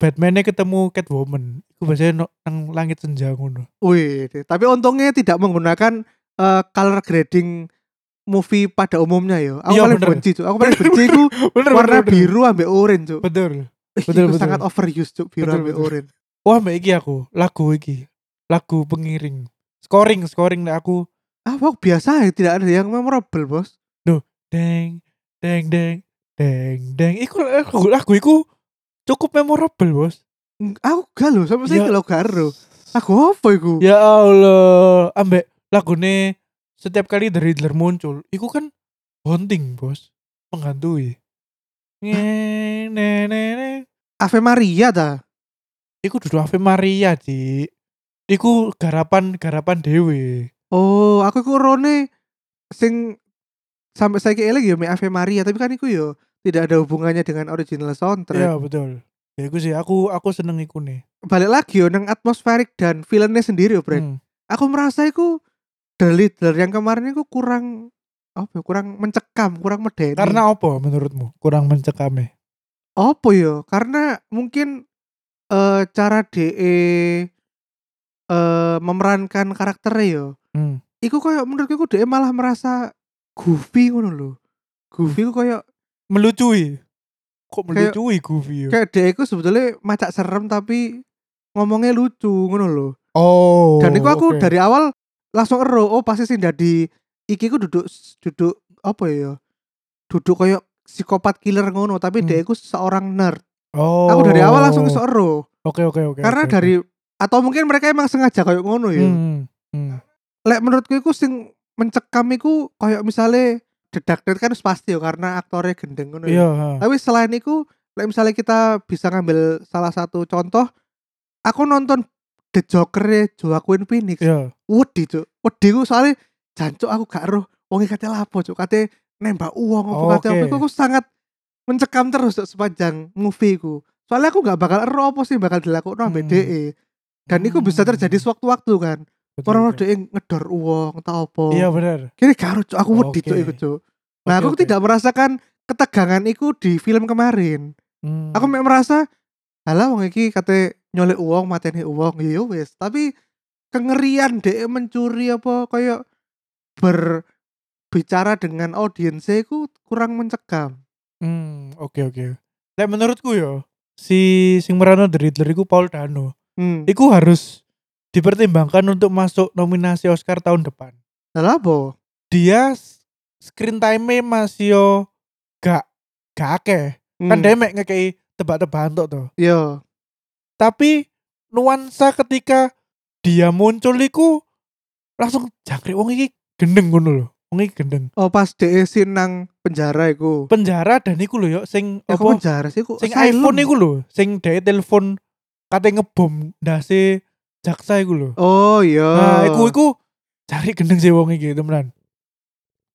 Speaker 2: Batman-nya ketemu Catwoman. Iku biasanya no- nang langit senja ngono.
Speaker 1: wih tapi untungnya tidak menggunakan eh, color grading movie pada umumnya yo aku
Speaker 2: Iya,
Speaker 1: paling
Speaker 2: bener.
Speaker 1: benci tuh aku paling benci itu
Speaker 2: Bener,
Speaker 1: warna
Speaker 2: bener, bener.
Speaker 1: biru ambek orange tuh
Speaker 2: Betul. betul,
Speaker 1: itu
Speaker 2: betul.
Speaker 1: sangat overuse tuh biru
Speaker 2: Betul,
Speaker 1: ambek
Speaker 2: betul.
Speaker 1: orange
Speaker 2: Wah, mbak iki aku, lagu iki. Lagu pengiring. Scoring, scoring nek aku
Speaker 1: Ah, wah, biasa ya, tidak ada yang memorable, Bos.
Speaker 2: deng deng deng deng deng. Iku lagu, lagu iku cukup memorable, Bos.
Speaker 1: Ng- Aku gak loh, sampai
Speaker 2: Ya.
Speaker 1: saya lo gak loh. Aku apa iku?
Speaker 2: Ya Allah, ambek lagune setiap kali dari Hitler muncul, iku kan haunting, Bos. Menghantui. Neng, neng, neng, neng.
Speaker 1: Ave Maria ta.
Speaker 2: Iku duduk Ave Maria, Cik. Iku garapan-garapan dewe.
Speaker 1: Oh, aku iku rone sing sampai saya eling ya me Ave Maria, tapi kan iku yo tidak ada hubungannya dengan original soundtrack.
Speaker 2: Iya betul. Ya aku sih aku aku seneng iku nih.
Speaker 1: Balik lagi yo nang atmosferik dan filmnya sendiri yo, Brek.
Speaker 2: Hmm.
Speaker 1: Aku merasa iku The Leader yang kemarin iku kurang apa ya, kurang mencekam, kurang medeni.
Speaker 2: Karena apa menurutmu? Kurang e? mencekame.
Speaker 1: apa ya karena mungkin eh cara de eh memerankan karakter yo
Speaker 2: Hmm.
Speaker 1: iku koyo menurutku de malah merasa goofy ngono lho
Speaker 2: Hmm.
Speaker 1: goofy ku koyo
Speaker 2: Melucui. Kok melucui Goofy ya?
Speaker 1: kayak de iku sebetulnya macak serem tapi ngomongnya lucu ngono lho
Speaker 2: Oh.
Speaker 1: dan iku aku
Speaker 2: oke.
Speaker 1: dari awal langsung ero oh pasti sih dadi iki ku duduk duduk apa ya duduk koyo psikopat killer ngono tapi
Speaker 2: Hmm.
Speaker 1: dia iku seorang nerd
Speaker 2: Oh.
Speaker 1: aku dari awal langsung iso ero
Speaker 2: Oke oke oke.
Speaker 1: karena
Speaker 2: oke, oke.
Speaker 1: dari atau mungkin mereka emang sengaja kayak ngono ya.
Speaker 2: Hmm, hmm.
Speaker 1: Lek menurutku iku sing mencekam iku kayak misalnya dedak kan harus pasti ya karena aktornya gendeng ngono ya.
Speaker 2: Iya, ha.
Speaker 1: Tapi selain itu, lek misalnya kita bisa ngambil salah satu contoh, aku nonton The Joker ya Joaquin Phoenix
Speaker 2: Iya.
Speaker 1: wedi cuk wedi ku soalnya jancuk aku gak roh wong kate lapo cuk kate nembak uang apa kate
Speaker 2: Oh, Oke.
Speaker 1: apa iku aku sangat mencekam terus Cuk, sepanjang movie ku soalnya aku gak bakal ero apa sih bakal dilakukan
Speaker 2: Hmm.
Speaker 1: ambek DE dan itu bisa terjadi sewaktu-waktu kan
Speaker 2: Betul,
Speaker 1: orang
Speaker 2: betul.
Speaker 1: DE ngedor uang tau apa
Speaker 2: Iya benar.
Speaker 1: kira gak roh cuk aku wedi cuk
Speaker 2: Oke.
Speaker 1: iku cuk nah
Speaker 2: Oke,
Speaker 1: aku
Speaker 2: oke.
Speaker 1: tidak merasakan ketegangan itu di film kemarin
Speaker 2: Hmm.
Speaker 1: aku mek merasa halah wong iki kate nyolek uang mateni uang ya ya wis tapi kengerian dek mencuri apa kayak berbicara dengan audiensnya ku kurang mencekam
Speaker 2: Hmm, oke oke. Lek menurutku yo si sing merano The Riddler iku Paul Dano.
Speaker 1: hmm.
Speaker 2: Iku harus dipertimbangkan untuk masuk nominasi Oscar tahun depan.
Speaker 1: Lah apa
Speaker 2: Dia s- screen time-nya masih yo gak gak akeh.
Speaker 1: hmm. Iya.
Speaker 2: Kan dia mek ngekei tebak-tebakan tok to.
Speaker 1: yo
Speaker 2: Tapi nuansa ketika dia muncul iku langsung jangkrik wong iki gendeng ngono lho. Wong iki gendeng.
Speaker 1: oh pas dek sin nang penjara iku
Speaker 2: Penjara dan iku lho yo sing
Speaker 1: Ya, kok penjara sih ku
Speaker 2: sing
Speaker 1: asylum?
Speaker 2: iPhone iku lho, sing dhek telepon kate ngebom ndase jaksa iku lho.
Speaker 1: oh iya
Speaker 2: Nah, iku iku cari gendeng sih wong iki, temenan.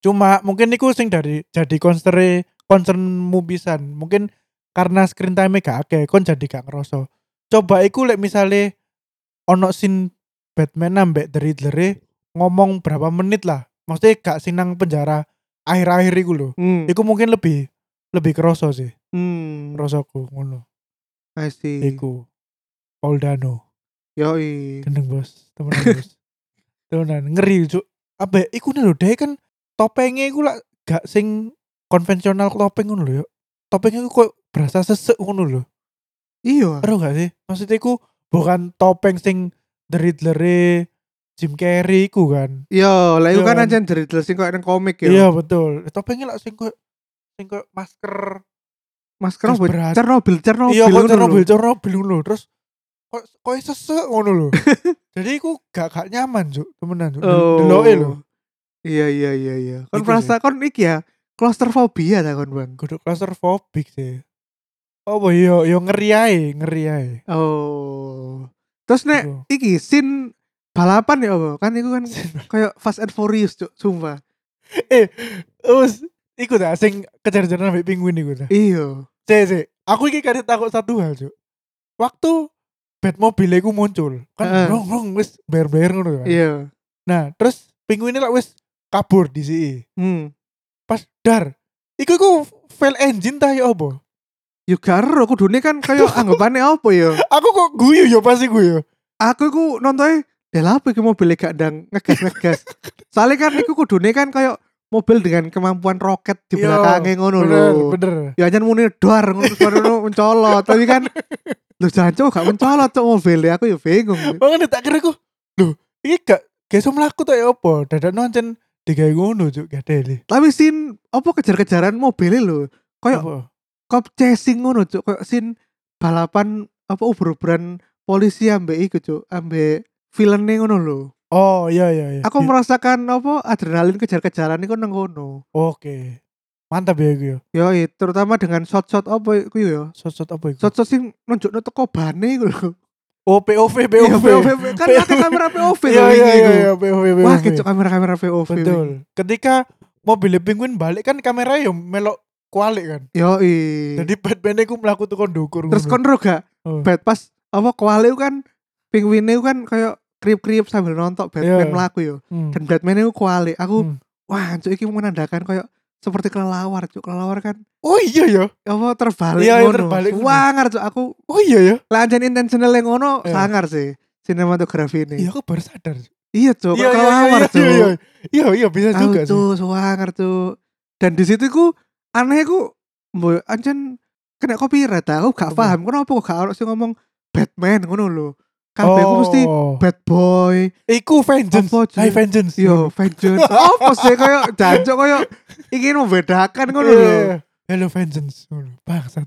Speaker 2: Cuma mungkin iku sing dari jadi concern concernmu pisan. Mungkin karena screen time gak akeh, kon jadi gak ngerasa. Coba iku lek misale ono scene Batman ambek The Riddler e, ngomong berapa menit lah. Maksudnya gak sinang penjara akhir-akhir iku lho.
Speaker 1: hmm.
Speaker 2: Iku mungkin lebih lebih kerasa sih,
Speaker 1: hmm.
Speaker 2: rasaku ngono.
Speaker 1: I see
Speaker 2: Iku Paul Dano
Speaker 1: Yoi.
Speaker 2: Gendeng bos Temenan bos Temenan Ngeri cuk Apa ya, Iku nih lho Dia kan Topengnya iku lah Gak sing Konvensional topeng ngono lho ya Topengnya iku kok Berasa sesek ngono lho
Speaker 1: iya
Speaker 2: Aduh gak sih Maksudnya iku Bukan topeng sing The Riddler Jim Carrey iku kan
Speaker 1: yo lah iku kan
Speaker 2: Yo.
Speaker 1: aja dari sing koyo nang komik ya. yo
Speaker 2: Iya betul Topengnya lah sing kok Sing kok masker
Speaker 1: masker apa?
Speaker 2: Jas berat.
Speaker 1: Chernobyl Chernobyl
Speaker 2: Iya kok
Speaker 1: ngono lho.
Speaker 2: Chernobyl Chernobyl ngono lho Terus Kok kok sesek ngono lho Jadi aku gak gak nyaman cuk Temenan cuk Del- Deloke lho
Speaker 1: Oh. Iya iya iya iya. Kon
Speaker 2: Gitu
Speaker 1: merasa kon iki ya claustrophobia ta kon, Bang?
Speaker 2: Kudu claustrophobic sih. Oh, yo yo ngeri ae, ngeri ae.
Speaker 1: Oh. Terus nek
Speaker 2: Aduh.
Speaker 1: iki sin balapan ya apa? Kan iku kan kayak Fast and Furious, Cuk, sumpah.
Speaker 2: eh, us iku ta sing kejar-kejaran ambek penguin iku ta.
Speaker 1: Iya.
Speaker 2: Sik, sik. Aku iki kadang takut satu hal, Cuk. Waktu Batmobile iku muncul, kan
Speaker 1: Heeh.
Speaker 2: rong rong wis ber-ber ngono kan.
Speaker 1: Iya.
Speaker 2: Nah, terus penguinnya lah wis kabur di sini.
Speaker 1: Hmm.
Speaker 2: Pas dar, iku iku fail engine ta ya apa?
Speaker 1: Yo garo kudune kan kayak anggapannya apa ya?
Speaker 2: Aku kok guyu ya pasti guyu.
Speaker 1: Aku iku nontonnya Ya lah apa iki mobilnya gak dang ngegas-ngegas. Soalnya kan iku kudune kan kayak mobil dengan kemampuan roket di
Speaker 2: Iya,
Speaker 1: belakangnya ngono lho.
Speaker 2: Bener, bener.
Speaker 1: ya hanya muni dor ngono terus baru nu mencolot tapi kan lu jangan cowok gak mencolot cok mobil aku ya bingung
Speaker 2: Makanya tak kira aku Loh Ini gak Gak bisa melaku tak ya apa Dadak nonton Digawe ngono cuk Gak deli
Speaker 1: tapi sin apa kejar-kejaran mobilnya lo kayak
Speaker 2: Apa?
Speaker 1: cop chasing ngono cok kayak sin balapan apa ubur-uburan polisi ambek iku cok ambek villainnya ngono lo
Speaker 2: Oh iya iya iya
Speaker 1: aku
Speaker 2: Iya.
Speaker 1: merasakan apa adrenalin kejar-kejaran iku nang ngono
Speaker 2: Oke Mantap ya gue
Speaker 1: yo terutama dengan shot-shot apa iku yo
Speaker 2: Sosot apa itu?
Speaker 1: shot-shot sing nunjukno teko bane iku lho
Speaker 2: Oh POV
Speaker 1: Iya,
Speaker 2: POV
Speaker 1: kan ada kamera POV
Speaker 2: Iya
Speaker 1: lho
Speaker 2: iya
Speaker 1: ini
Speaker 2: iya
Speaker 1: iku.
Speaker 2: iya, POV POV
Speaker 1: Wah, kecok kamera-kamera POV.
Speaker 2: Betul Ketika Mobil penguin balik kan kamera ya melok kualik kan
Speaker 1: Yo
Speaker 2: Jadi Batman aku melaku tukang dukur
Speaker 1: Iya. Terus
Speaker 2: ngono.
Speaker 1: kon ro gak?
Speaker 2: Oh.
Speaker 1: Bat pas apa kuali kan penguinnya kan kayak kriep-kriep sambil nonton Batman
Speaker 2: Iya.
Speaker 1: melaku yo.
Speaker 2: Hmm.
Speaker 1: Dan Batman itu kuali. Aku
Speaker 2: Hmm.
Speaker 1: wah cuk iki menandakan kayak seperti kelelawar cuk. Kelelawar kan
Speaker 2: Oh iya ya
Speaker 1: apa terbalik
Speaker 2: Iya, iya,
Speaker 1: ngono.
Speaker 2: terbalik ngono.
Speaker 1: Wah, ngar cuk aku
Speaker 2: Oh iya ya
Speaker 1: lanjut intentional yang ngono
Speaker 2: Iya.
Speaker 1: sangar sih sinematografi ini.
Speaker 2: Iya aku baru sadar
Speaker 1: Iya cuk,
Speaker 2: Iya
Speaker 1: kayak
Speaker 2: iya
Speaker 1: kelelawar
Speaker 2: iya, iya iya
Speaker 1: cuk.
Speaker 2: Iya iya bisa
Speaker 1: Tahu
Speaker 2: juga sih
Speaker 1: cuk, sangar cuk. Dan di situ ku aneh ku mbo anjen kena copyright ta. aku gak
Speaker 2: Apa?
Speaker 1: paham kenapa kok gak ono sing ngomong Batman ngono lho. Kabeh ku mesti
Speaker 2: Oh.
Speaker 1: bad boy,
Speaker 2: Iku vengeance.
Speaker 1: Apa, Cuk?
Speaker 2: Hai vengeance.
Speaker 1: yo vengeance. Apa sih kayak jancok kayak ingin membedakan ngono lho.
Speaker 2: Iya. Hello vengeance. Ngono. Bangsat.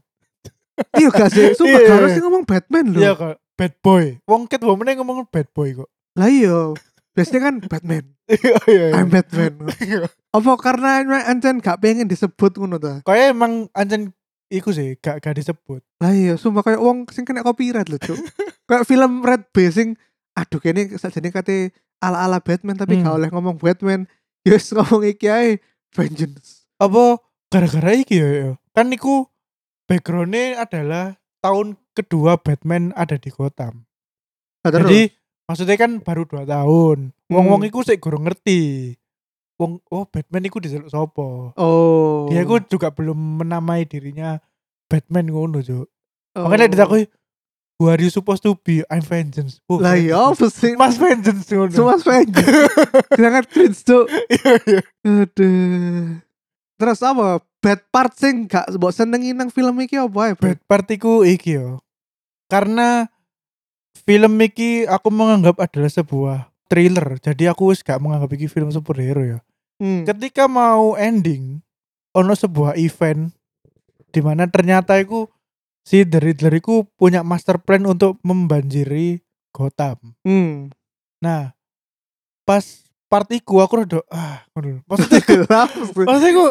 Speaker 1: Iya gak sih, sumpah
Speaker 2: Iya,
Speaker 1: gak ono
Speaker 2: iya.
Speaker 1: sing ngomong Batman lho.
Speaker 2: Iya kok. Bad boy. Wong ket womene ngomong bad boy kok.
Speaker 1: Lah iya. Biasanya kan Batman,
Speaker 2: Iya iya.
Speaker 1: I'm Batman. Apa karena ancen gak pengen disebut ngono ta?
Speaker 2: Kaya emang anjen iku sih gak gak disebut.
Speaker 1: Lah iya, sumpah kayak wong sing kena copyright lho, Cuk. kayak film Red Base sing aduh kene sajane kate ala-ala Batman tapi
Speaker 2: Hmm.
Speaker 1: gak oleh ngomong Batman. Ya wis ngomong iki ae vengeance.
Speaker 2: apa gara-gara iki ya, ya kan niku backgroundnya adalah tahun kedua Batman ada di Gotham
Speaker 1: Nah, terus.
Speaker 2: jadi maksudnya kan baru dua tahun wong-wong
Speaker 1: Hmm.
Speaker 2: iku sik kurang ngerti wong oh Batman iku diseluk sopo
Speaker 1: oh.
Speaker 2: dia iku juga belum menamai dirinya Batman ngono jo
Speaker 1: oh.
Speaker 2: makanya ditakoi who are you supposed to be I'm vengeance Oh,
Speaker 1: Lah ya
Speaker 2: vengeance.
Speaker 1: apa sih?
Speaker 2: mas vengeance ngono
Speaker 1: Semua vengeance. Sangat cringe tuh.
Speaker 2: Iya, iya.
Speaker 1: Aduh. Terus apa? Bad part sing gak mbok senengi nang film iki apa ae? Bro?
Speaker 2: bad part iku iki yo. Karena film iki aku menganggap adalah sebuah thriller. Jadi aku wis gak menganggap iki film superhero ya.
Speaker 1: Hmm.
Speaker 2: Ketika mau ending ono sebuah event di mana ternyata iku si The Riddler iku punya master plan untuk membanjiri Gotham.
Speaker 1: Hmm.
Speaker 2: Nah, pas part iku aku rada ah, ngono. maksudnya
Speaker 1: Kenapa sih?
Speaker 2: maksudku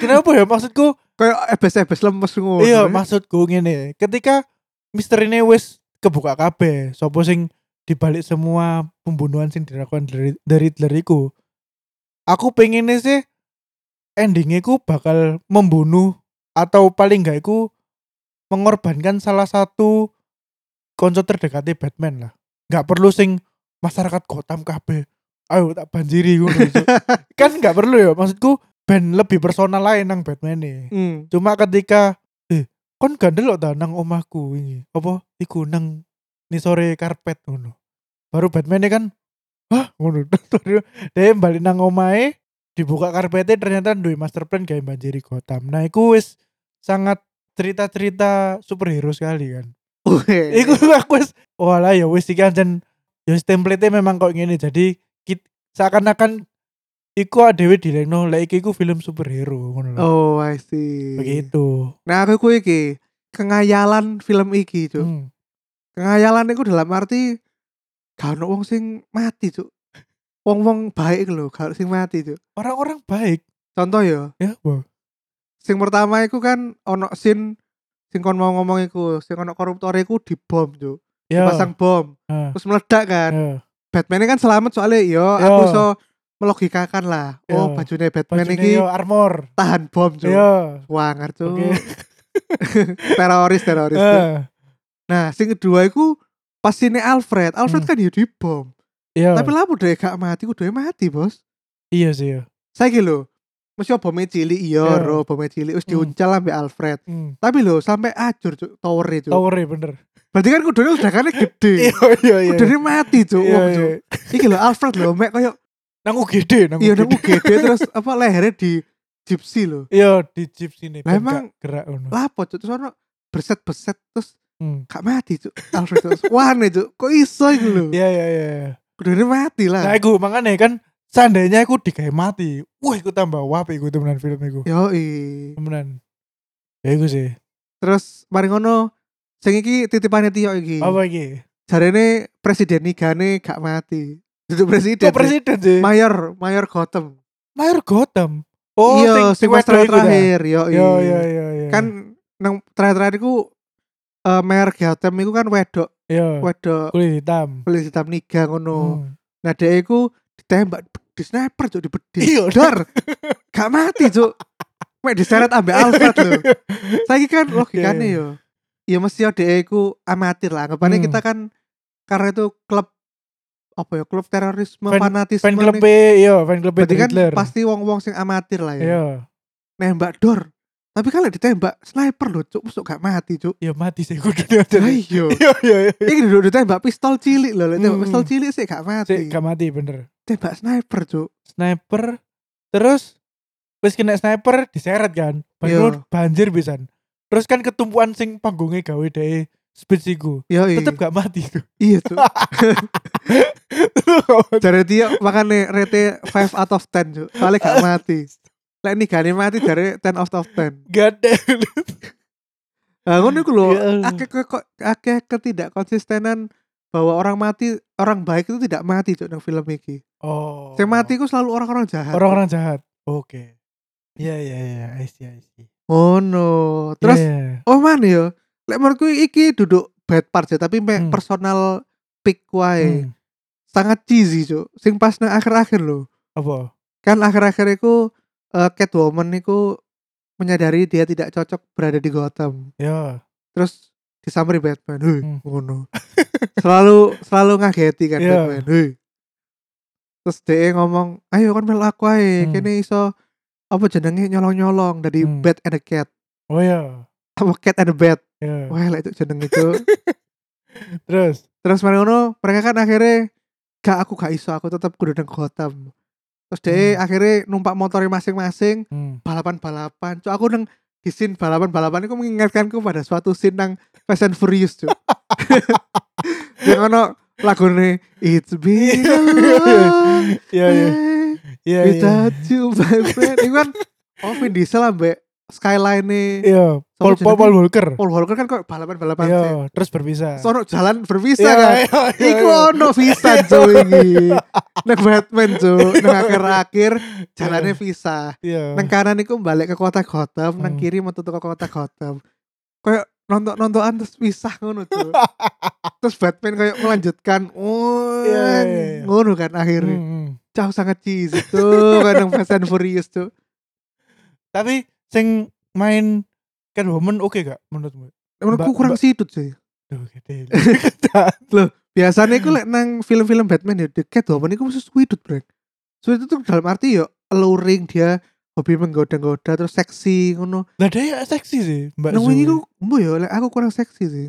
Speaker 2: kenapa ya maksudku
Speaker 1: Kayak ebes-ebes lemes ngono.
Speaker 2: Iya,
Speaker 1: ya?
Speaker 2: maksudku ngene. Ketika misteri ini wis kebuka kabeh, sapa sing dibalik semua pembunuhan sing dilakukan dari dari Hitler iku. Aku pengennya sih endingnya ku bakal membunuh atau paling enggak iku mengorbankan salah satu konco terdekati Batman lah. Enggak perlu sing masyarakat Gotham kabeh. Ayo tak banjiri ngono. Cuk. kan enggak perlu ya maksudku ben lebih personal lain nang Batman nih.
Speaker 1: Hmm.
Speaker 2: Cuma ketika eh kon gak ndelok ta nang omahku ini. Apa iku nang nisore karpet ngono. Baru Batman kan Hah, ngono. Terus Dia balik nang omahe, dibuka karpetnya ternyata duwe master plan gawe banjiri Gotham. Nah, iku wis sangat cerita-cerita superhero sekali kan.
Speaker 1: Weh.
Speaker 2: Iku aku wis walah ya wis iki anjen ya wis template memang kok ngene. Jadi kit- seakan-akan iku dhewe dilekno lek iki iku film superhero ngono lho.
Speaker 1: Oh, I see.
Speaker 2: Hmm. Begitu.
Speaker 1: Nah, aku ku iki kengayalan film iki, Cuk.
Speaker 2: Hmm.
Speaker 1: Kengayalan iku dalam arti gak ono wong sing mati, Cuk. Wong-wong baik lho, gak ono sing mati, Cuk.
Speaker 2: orang-orang baik
Speaker 1: Contoh ya,
Speaker 2: ya Bo.
Speaker 1: sing pertama iku kan ono sin sing kon mau ngomong iku, sing ono koruptor iku dibom, Cuk.
Speaker 2: ya
Speaker 1: Pasang bom,
Speaker 2: Ah,
Speaker 1: terus meledak kan.
Speaker 2: ya.
Speaker 1: Batman kan selamat soalnya yo
Speaker 2: Yo.
Speaker 1: aku so melogikakan lah. Oh,
Speaker 2: Yo.
Speaker 1: bajunya Batman
Speaker 2: Bajunya
Speaker 1: iki
Speaker 2: Ya. yo armor
Speaker 1: tahan bom, Cuk.
Speaker 2: ya
Speaker 1: Wah, ngerti.
Speaker 2: oke
Speaker 1: Teroris, teroris. Cuk.
Speaker 2: Eh,
Speaker 1: Nah, sing kedua iku pas sini Alfred. Alfred
Speaker 2: Hmm.
Speaker 1: kan ya dibom.
Speaker 2: ya
Speaker 1: Tapi lapo dhewe gak mati, kudu mati, Bos.
Speaker 2: iya sih ya
Speaker 1: Saiki lho, mesti bomnya cilik iya,
Speaker 2: Ya.
Speaker 1: ro, bomnya cilik wis
Speaker 2: Hmm.
Speaker 1: diuncal ambek Alfred.
Speaker 2: hmm.
Speaker 1: Tapi lho, sampai ajur cuk tower itu.
Speaker 2: towernya bener
Speaker 1: Berarti kan kudune udah kan gede.
Speaker 2: iya
Speaker 1: Kudune mati cuk,
Speaker 2: iya
Speaker 1: wong
Speaker 2: iya.
Speaker 1: cuk. Iki lho Alfred lho mek koyo
Speaker 2: nang UGD nang
Speaker 1: iya nang
Speaker 2: UGD.
Speaker 1: UGD terus apa lehernya di gypsy lho.
Speaker 2: iya di jeep sini
Speaker 1: Lah
Speaker 2: ben
Speaker 1: emang-
Speaker 2: gak gerak ngono
Speaker 1: Lapo cuk terus ono berset-berset terus
Speaker 2: Hmm.
Speaker 1: gak mati cuk. Alfred terus wah nih cuk, kok iso iku lho.
Speaker 2: iya iya iya
Speaker 1: Kudune mati lah.
Speaker 2: nah aku makanya kan seandainya aku digawe mati wah aku tambah wapi aku temenan film aku
Speaker 1: Iya. Yoi.
Speaker 2: temenan ya iku sih
Speaker 1: Terus mari ngono sing iki titipane Tio iki.
Speaker 2: apa iki
Speaker 1: Jarene presiden nigane gak mati. Duduk presiden.
Speaker 2: kok presiden sih
Speaker 1: Mayor, Mayor Gotham.
Speaker 2: Mayor Gotham oh
Speaker 1: iya, sing
Speaker 2: sing- sing
Speaker 1: pas
Speaker 2: wedok iku dah.
Speaker 1: terakhir, yoi.
Speaker 2: Iya iya iya iya.
Speaker 1: Kan nang terakhir-terakhir iku eh, Mayor Gotham iku kan wedok,
Speaker 2: iya
Speaker 1: wedok
Speaker 2: kulit hitam.
Speaker 1: kulit hitam niga ngono.
Speaker 2: Hmm.
Speaker 1: Nah, dhek iku ditembak di sniper cuk di bedil.
Speaker 2: Iya,
Speaker 1: Dor. gak mati cuk. Mek diseret ambek Alfred lho. Saiki kan logikane
Speaker 2: Oke.
Speaker 1: yo. Ya mesti ya DE ku amatir lah. Anggapannya
Speaker 2: iya. Hmm.
Speaker 1: kita kan karena itu klub apa ya klub terorisme
Speaker 2: Fan-
Speaker 1: fanatisme
Speaker 2: Fan
Speaker 1: nih.
Speaker 2: club iya fan club
Speaker 1: Berarti kan
Speaker 2: Hitler.
Speaker 1: pasti wong-wong sing amatir lah ya.
Speaker 2: Iya.
Speaker 1: Nembak dor. Tapi kalau ditembak sniper lho, cuk, masuk gak mati, cuk.
Speaker 2: Ya mati sih kudu
Speaker 1: Lah
Speaker 2: dia jadi.
Speaker 1: iya.
Speaker 2: Iya iya iya.
Speaker 1: Iki duduk ditembak pistol cilik lho, lek tembak
Speaker 2: Hmm.
Speaker 1: pistol cilik sih gak
Speaker 2: Sik,
Speaker 1: mati.
Speaker 2: gak mati bener.
Speaker 1: Tembak sniper, cuk.
Speaker 2: Sniper terus wis kena sniper diseret kan.
Speaker 1: Iya.
Speaker 2: Baru banjir pisan. Terus kan ketumpuan sing panggungnya gawe dhewe speech iku.
Speaker 1: Yo,
Speaker 2: Tetep gak mati tuh.
Speaker 1: iya, cuk. Jare dia makane rate 5 out of 10, cuk. Soalnya gak mati. Lek nigane mati jare 10 out of 10.
Speaker 2: Gak ada.
Speaker 1: Nah, ngono iku lho,
Speaker 2: Ya Allah.
Speaker 1: akeh ke- kok- akeh ketidak konsistenan bahwa orang mati, orang baik itu tidak mati cuk nang film iki.
Speaker 2: Oh.
Speaker 1: Sing mati iku selalu orang-orang jahat.
Speaker 2: orang-orang jahat. Oke. Iya iya iya, I see I see.
Speaker 1: Ngono. Terus
Speaker 2: Iya, iya.
Speaker 1: oh man yo, lek menurutku iki duduk bad part ya, tapi me-
Speaker 2: Hmm.
Speaker 1: personal pick wae.
Speaker 2: Hmm.
Speaker 1: Sangat cheesy, Cuk. Sing pas nang akhir-akhir lho.
Speaker 2: Apa?
Speaker 1: Kan akhir-akhir iku eh, Catwoman iku menyadari dia tidak cocok berada di Gotham.
Speaker 2: Ya.
Speaker 1: Terus disamperin Batman. Hei,
Speaker 2: Hmm.
Speaker 1: ngono. selalu selalu ngageti kan
Speaker 2: Iya.
Speaker 1: Batman. Hei. Terus dia ngomong, "Ayo kan melu aku ae,
Speaker 2: Hmm.
Speaker 1: kene iso apa jenenge nyolong-nyolong dari
Speaker 2: Hmm.
Speaker 1: Bat and a Cat."
Speaker 2: Oh ya.
Speaker 1: Apa Cat and a Bat.
Speaker 2: Ya.
Speaker 1: Wah, lah itu jenenge itu.
Speaker 2: Terus
Speaker 1: Terus mari ngono, mereka kan akhirnya gak aku gak iso, aku tetap kudu nang Gotham. Terus dia
Speaker 2: Hmm.
Speaker 1: akhirnya numpak motornya masing-masing
Speaker 2: hmm.
Speaker 1: balapan-balapan. Cuk, aku nang di scene balapan-balapan itu mengingatkanku pada suatu scene nang Fast and Furious, Cuk. Yang ono lagune It's been a long
Speaker 2: Iya iya.
Speaker 1: time
Speaker 2: Iya iya.
Speaker 1: without you, my friend. Iku kan oh Vin Diesel ambek Skyline-e
Speaker 2: Iya. Paul
Speaker 1: jenenge?
Speaker 2: Paul Paul Walker.
Speaker 1: Paul Walker kan kok balapan-balapan sih.
Speaker 2: Iya, terus berpisah.
Speaker 1: Sono jalan berpisah
Speaker 2: Iya,
Speaker 1: kan.
Speaker 2: iya, iya,
Speaker 1: Iku
Speaker 2: iya.
Speaker 1: ono visa cuy iki. Nek Batman cuy, nang akhir-akhir jalannya visa.
Speaker 2: Iya.
Speaker 1: Nang kanan iku balik ke kota Gotham, nang
Speaker 2: Hmm.
Speaker 1: kiri metu ke kota Gotham. Kayak nonton-nontonan terus pisah ngono cuy. terus Batman kayak melanjutkan, oh
Speaker 2: Iya, iya, iya.
Speaker 1: ngono kan akhirnya.
Speaker 2: Hmm, hmm.
Speaker 1: Jauh sangat cheesy tuh, kadang Fast and Furious tuh.
Speaker 2: Tapi sing main Catwoman oke gak menurutmu?
Speaker 1: Menurutku
Speaker 2: Mbak-
Speaker 1: kurang
Speaker 2: Mbak-
Speaker 1: situ cuy.
Speaker 2: Duh, gede.
Speaker 1: biasanya
Speaker 2: Hmm.
Speaker 1: aku lek nang film-film Batman ya deket Catwoman itu mesti squidut brek squidut itu dalam arti ya alluring dia hobi menggoda-goda terus seksi ngono
Speaker 2: Lah dia seksi sih, Mbak
Speaker 1: nang
Speaker 2: Zoe.
Speaker 1: wingi ku mbo ya lek aku kurang seksi sih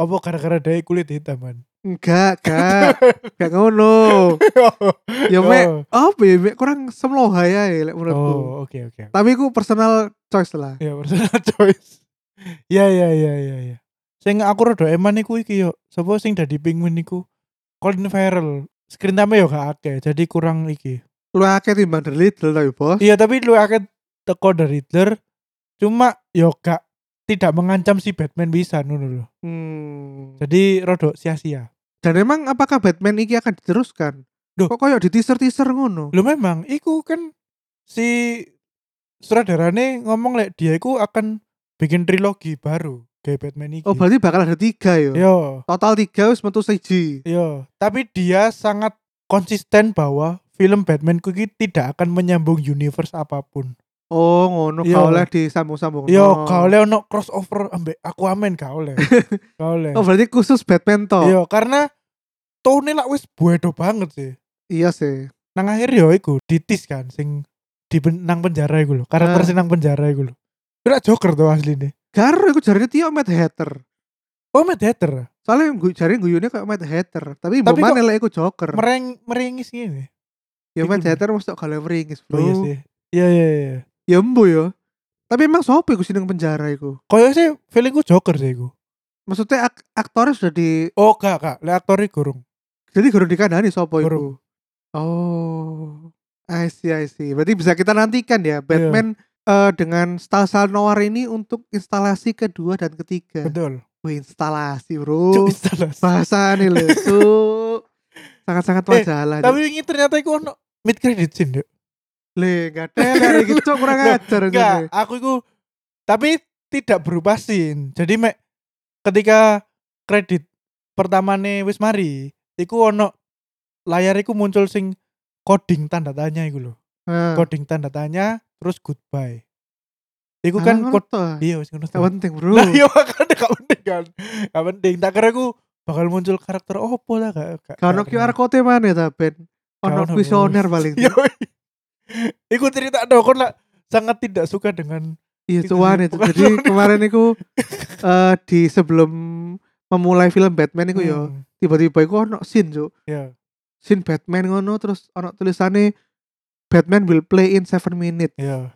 Speaker 2: Apa gara-gara dia kulit hitam kan?
Speaker 1: enggak enggak enggak ngono ya mek
Speaker 2: Oh,
Speaker 1: apa ya mek kurang semloha ya lek menurutku
Speaker 2: Oh, oke oke.
Speaker 1: tapi aku personal choice lah
Speaker 2: Ya personal choice. Ya ya ya ya ya. Sing aku rada eman iku iki yo. Sapa sing dadi penguin niku? Colin Farrell. Screen time yo gak akeh, jadi kurang iki.
Speaker 1: lu akeh timbang The Little tapi bos
Speaker 2: Iya, tapi lu akeh teko dari Hitler. Cuma yo gak tidak mengancam si Batman bisa ngono lho.
Speaker 1: hmm.
Speaker 2: Jadi rodok sia-sia.
Speaker 1: dan emang apakah Batman iki akan diteruskan
Speaker 2: Duh.
Speaker 1: kok koyo di teaser-teaser ngono
Speaker 2: Lu memang iku kan si sutradarane ngomong lek dia iku akan bikin trilogi baru kayak Batman iki.
Speaker 1: oh berarti bakal ada tiga yo
Speaker 2: Yo.
Speaker 1: total tiga wis metu siji
Speaker 2: Iya, tapi dia sangat konsisten bahwa film Batman Kuki tidak akan menyambung universe apapun.
Speaker 1: oh ngono
Speaker 2: Iya.
Speaker 1: gak oleh disambung-sambung Oh.
Speaker 2: Yo, gak oleh ono crossover ambek Aquaman gak oleh. Gak oleh.
Speaker 1: oh berarti khusus Batman toh
Speaker 2: Iya, karena Tony lah wis buedo banget sih.
Speaker 1: iya sih
Speaker 2: Nang akhir yo iku ditis kan sing di pen- nang penjara iku lho. Karakter
Speaker 1: Ah.
Speaker 2: sing nang penjara iku lho. Itu lah Joker tuh asline.
Speaker 1: garo iku jarine Tio Mad Hatter
Speaker 2: Oh, Mad Hatter.
Speaker 1: soalnya gue cari guyune kayak Mad Hatter tapi mbok
Speaker 2: Tapi kok-
Speaker 1: mana lek iku Joker
Speaker 2: Mereng meringis gini.
Speaker 1: ya Mad
Speaker 2: iku-
Speaker 1: Hatter mesti gak oleh meringis bro
Speaker 2: Oh iya sih. Iya iya iya.
Speaker 1: ya embo yo tapi emang sopo iku sineng penjara iku
Speaker 2: Koyo sih feelingku Joker sih iku.
Speaker 1: maksudnya ak aktornya sudah di
Speaker 2: Oh, gak gak, lek aktori gurung.
Speaker 1: jadi guru dikandani sopo
Speaker 2: Gurung.
Speaker 1: iku oh I see I see berarti bisa kita nantikan
Speaker 2: Iya.
Speaker 1: ya Batman eh, dengan style-style noir ini untuk instalasi kedua dan ketiga
Speaker 2: Betul.
Speaker 1: Wih, instalasi bro
Speaker 2: Cuk instalasi.
Speaker 1: Bahasa nih lho Cuk Sangat-sangat
Speaker 2: Eh,
Speaker 1: majalah
Speaker 2: Tapi ini ternyata iku ono mid credit scene, Dok.
Speaker 1: Le, gak teler iki Cuk kurang
Speaker 2: Loh,
Speaker 1: ajar
Speaker 2: Enggak,
Speaker 1: ini.
Speaker 2: aku iku tapi tidak berubah scene. Jadi mek ketika kredit pertamane wis mari, iku ono layar iku muncul sing coding tanda tanya iku lho.
Speaker 1: Nah,
Speaker 2: Coding tanda tanya terus goodbye. Iku kan
Speaker 1: alah,
Speaker 2: kod
Speaker 1: ngono toh.
Speaker 2: iya wis ngono.
Speaker 1: Gak
Speaker 2: toh.
Speaker 1: penting bro
Speaker 2: Lah iya makanya gak penting kan. Gak penting. Tak kira aku bakal muncul karakter opo lah gak. gak-
Speaker 1: Gak ono
Speaker 2: gak kira.
Speaker 1: QR code mana ya ta Ben Ono
Speaker 2: Gak ono,
Speaker 1: visioner
Speaker 2: Bro.
Speaker 1: paling
Speaker 2: Yo. Iku cerita dong kon lah sangat tidak suka dengan
Speaker 1: Iya
Speaker 2: Itu
Speaker 1: cuan
Speaker 2: sih,
Speaker 1: itu
Speaker 2: bukan
Speaker 1: Jadi
Speaker 2: Sony.
Speaker 1: kemarin aku eh, Di sebelum Memulai film Batman iku ya. yo
Speaker 2: Hmm,
Speaker 1: Tiba-tiba iku ono scene Cuk
Speaker 2: Ya.
Speaker 1: Scene Batman ngono Terus ono tulisannya Batman will play in 7 minutes
Speaker 2: Ya.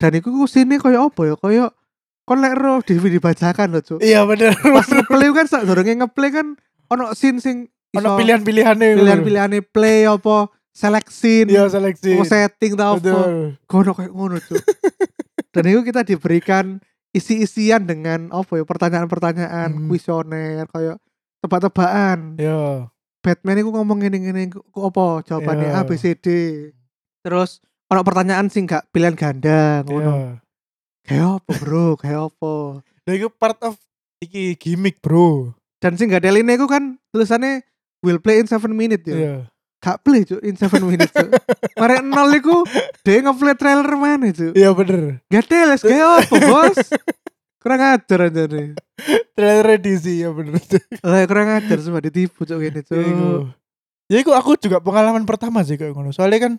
Speaker 1: Dan iku ku scene koyo apa ya Koyo Kon lek roh DVD dibacakan loh Cuk
Speaker 2: Iya benar.
Speaker 1: pas ngeplay kan sak durunge ngeplay kan ono scene sing
Speaker 2: Ono
Speaker 1: iso
Speaker 2: pilihan-pilihannya gitu.
Speaker 1: pilihan-pilihane play apa select scene
Speaker 2: Iya seleksi.
Speaker 1: apa setting ta apa
Speaker 2: Betul.
Speaker 1: kono kayak ngono tuh dan itu kita diberikan isi-isian dengan apa ya pertanyaan-pertanyaan
Speaker 2: Hmm.
Speaker 1: kuesioner kayak tebak-tebakan
Speaker 2: Ya.
Speaker 1: Batman itu ngomong ngene-ngene ku ku apa jawabannya
Speaker 2: Iya.
Speaker 1: A B C D terus ono pertanyaan sing gak pilihan ganda
Speaker 2: Ya.
Speaker 1: ngono kayak apa bro kayak apa
Speaker 2: Lah iku part of iki gimmick, Bro.
Speaker 1: dan sing gak ada line iku kan tulisannya will play in 7 minute ya.
Speaker 2: Iya.
Speaker 1: Gak play cuk in 7 minute cuk. Mare nol iku dia nge-play trailer mana cuk.
Speaker 2: Iya bener.
Speaker 1: Gak teles kayak apa bos? Kurang ajar aja nih.
Speaker 2: Trailer edisi ya bener.
Speaker 1: Lah kurang ajar semua ditipu cuk gini
Speaker 2: Ya iku.
Speaker 1: cuk.
Speaker 2: Ya iku aku juga pengalaman pertama sih kayak ngono. Soalnya kan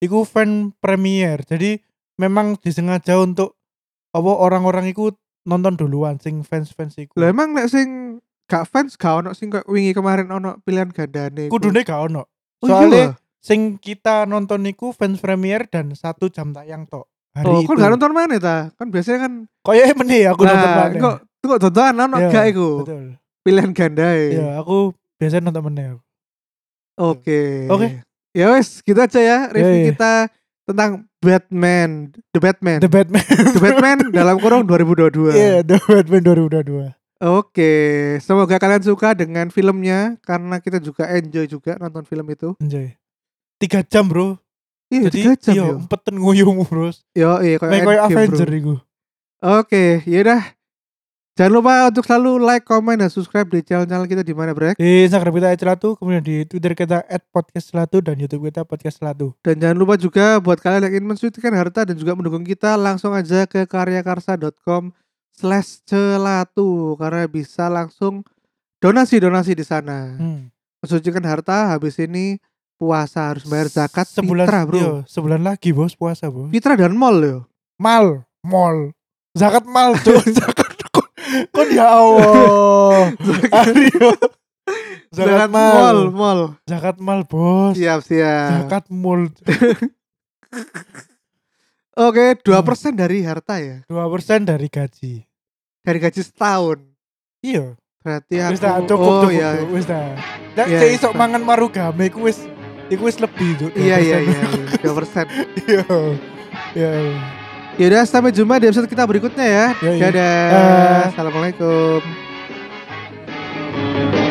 Speaker 2: iku fan premier. Jadi memang disengaja untuk apa orang-orang iku nonton duluan sing fans-fans iku.
Speaker 1: Lah emang nek sing gak fans gak ono sing kayak wingi kemarin ono pilihan gandane. iku.
Speaker 2: kudune gak ono.
Speaker 1: Oh, iya.
Speaker 2: soalnya Sing kita nonton iku fans premier dan satu jam tayang tok. Hari
Speaker 1: Oh,
Speaker 2: itu.
Speaker 1: kok gak nonton mana ta? Kan biasanya kan
Speaker 2: Kayaknya meneh ya, aku
Speaker 1: Lah,
Speaker 2: nonton bareng.
Speaker 1: Kok kok tontonan ono
Speaker 2: Iya,
Speaker 1: gak iku?
Speaker 2: Betul.
Speaker 1: Pilihan ganda
Speaker 2: Ya, aku biasanya nonton meneh. aku.
Speaker 1: Oke.
Speaker 2: Oke.
Speaker 1: Ya wes, gitu aja ya
Speaker 2: Ya,
Speaker 1: review
Speaker 2: ya.
Speaker 1: kita tentang Batman, The Batman.
Speaker 2: The Batman.
Speaker 1: The Batman dalam kurung 2022.
Speaker 2: Iya, The Batman 2022.
Speaker 1: Oke, semoga kalian suka dengan filmnya karena kita juga enjoy juga nonton film itu.
Speaker 2: Anjay. 3 jam, Bro.
Speaker 1: Iya,
Speaker 2: Jadi
Speaker 1: tiga jam
Speaker 2: iya,
Speaker 1: yo.
Speaker 2: empeten nguyung terus.
Speaker 1: Yo, iya kayak
Speaker 2: Kayak kayak
Speaker 1: Endgame,
Speaker 2: Avenger
Speaker 1: bro.
Speaker 2: iku.
Speaker 1: Oke, yaudah. Jangan lupa untuk selalu like, comment, dan subscribe di channel-channel kita di mana Brek.
Speaker 2: Di Instagram kita @celatu, kemudian di Twitter kita @podcastcelatu dan YouTube kita podcastcelatu.
Speaker 1: Dan jangan lupa juga buat kalian yang ingin mensuitkan harta dan juga mendukung kita langsung aja ke karyakarsa.com slash celatu karena bisa langsung donasi-donasi di sana.
Speaker 2: Hmm.
Speaker 1: Mensucikan harta habis ini puasa harus bayar zakat
Speaker 2: sebulan
Speaker 1: fitrah, Bro.
Speaker 2: iya, sebulan lagi, Bos, puasa, Bos.
Speaker 1: Fitrah dan mall yo.
Speaker 2: Mal, mall. Zakat mal tuh, zakat kon- kon ya Allah.
Speaker 1: Iya.
Speaker 2: Ario. Zakat
Speaker 1: mall,
Speaker 2: mal.
Speaker 1: mall.
Speaker 2: Zakat mal, Bos.
Speaker 1: Siap, siap.
Speaker 2: Zakat mal
Speaker 1: Oke, 2% dari harta ya.
Speaker 2: 2% dari gaji.
Speaker 1: Dari gaji setahun.
Speaker 2: Iya.
Speaker 1: Berarti aku
Speaker 2: Wis dah cukup
Speaker 1: oh,
Speaker 2: cukup.
Speaker 1: iya.
Speaker 2: cukup, Wis dah. Nek
Speaker 1: Iya,
Speaker 2: sik iso
Speaker 1: iya.
Speaker 2: mangan marugame ku wis iku wis lebih Cuk,
Speaker 1: Iya, iya, iya.
Speaker 2: 2%.
Speaker 1: iya. 2%.
Speaker 2: Iya. Iya.
Speaker 1: Yaudah sampai jumpa di episode kita berikutnya ya.
Speaker 2: Yoi.
Speaker 1: Dadah.
Speaker 2: Dah.
Speaker 1: Assalamualaikum.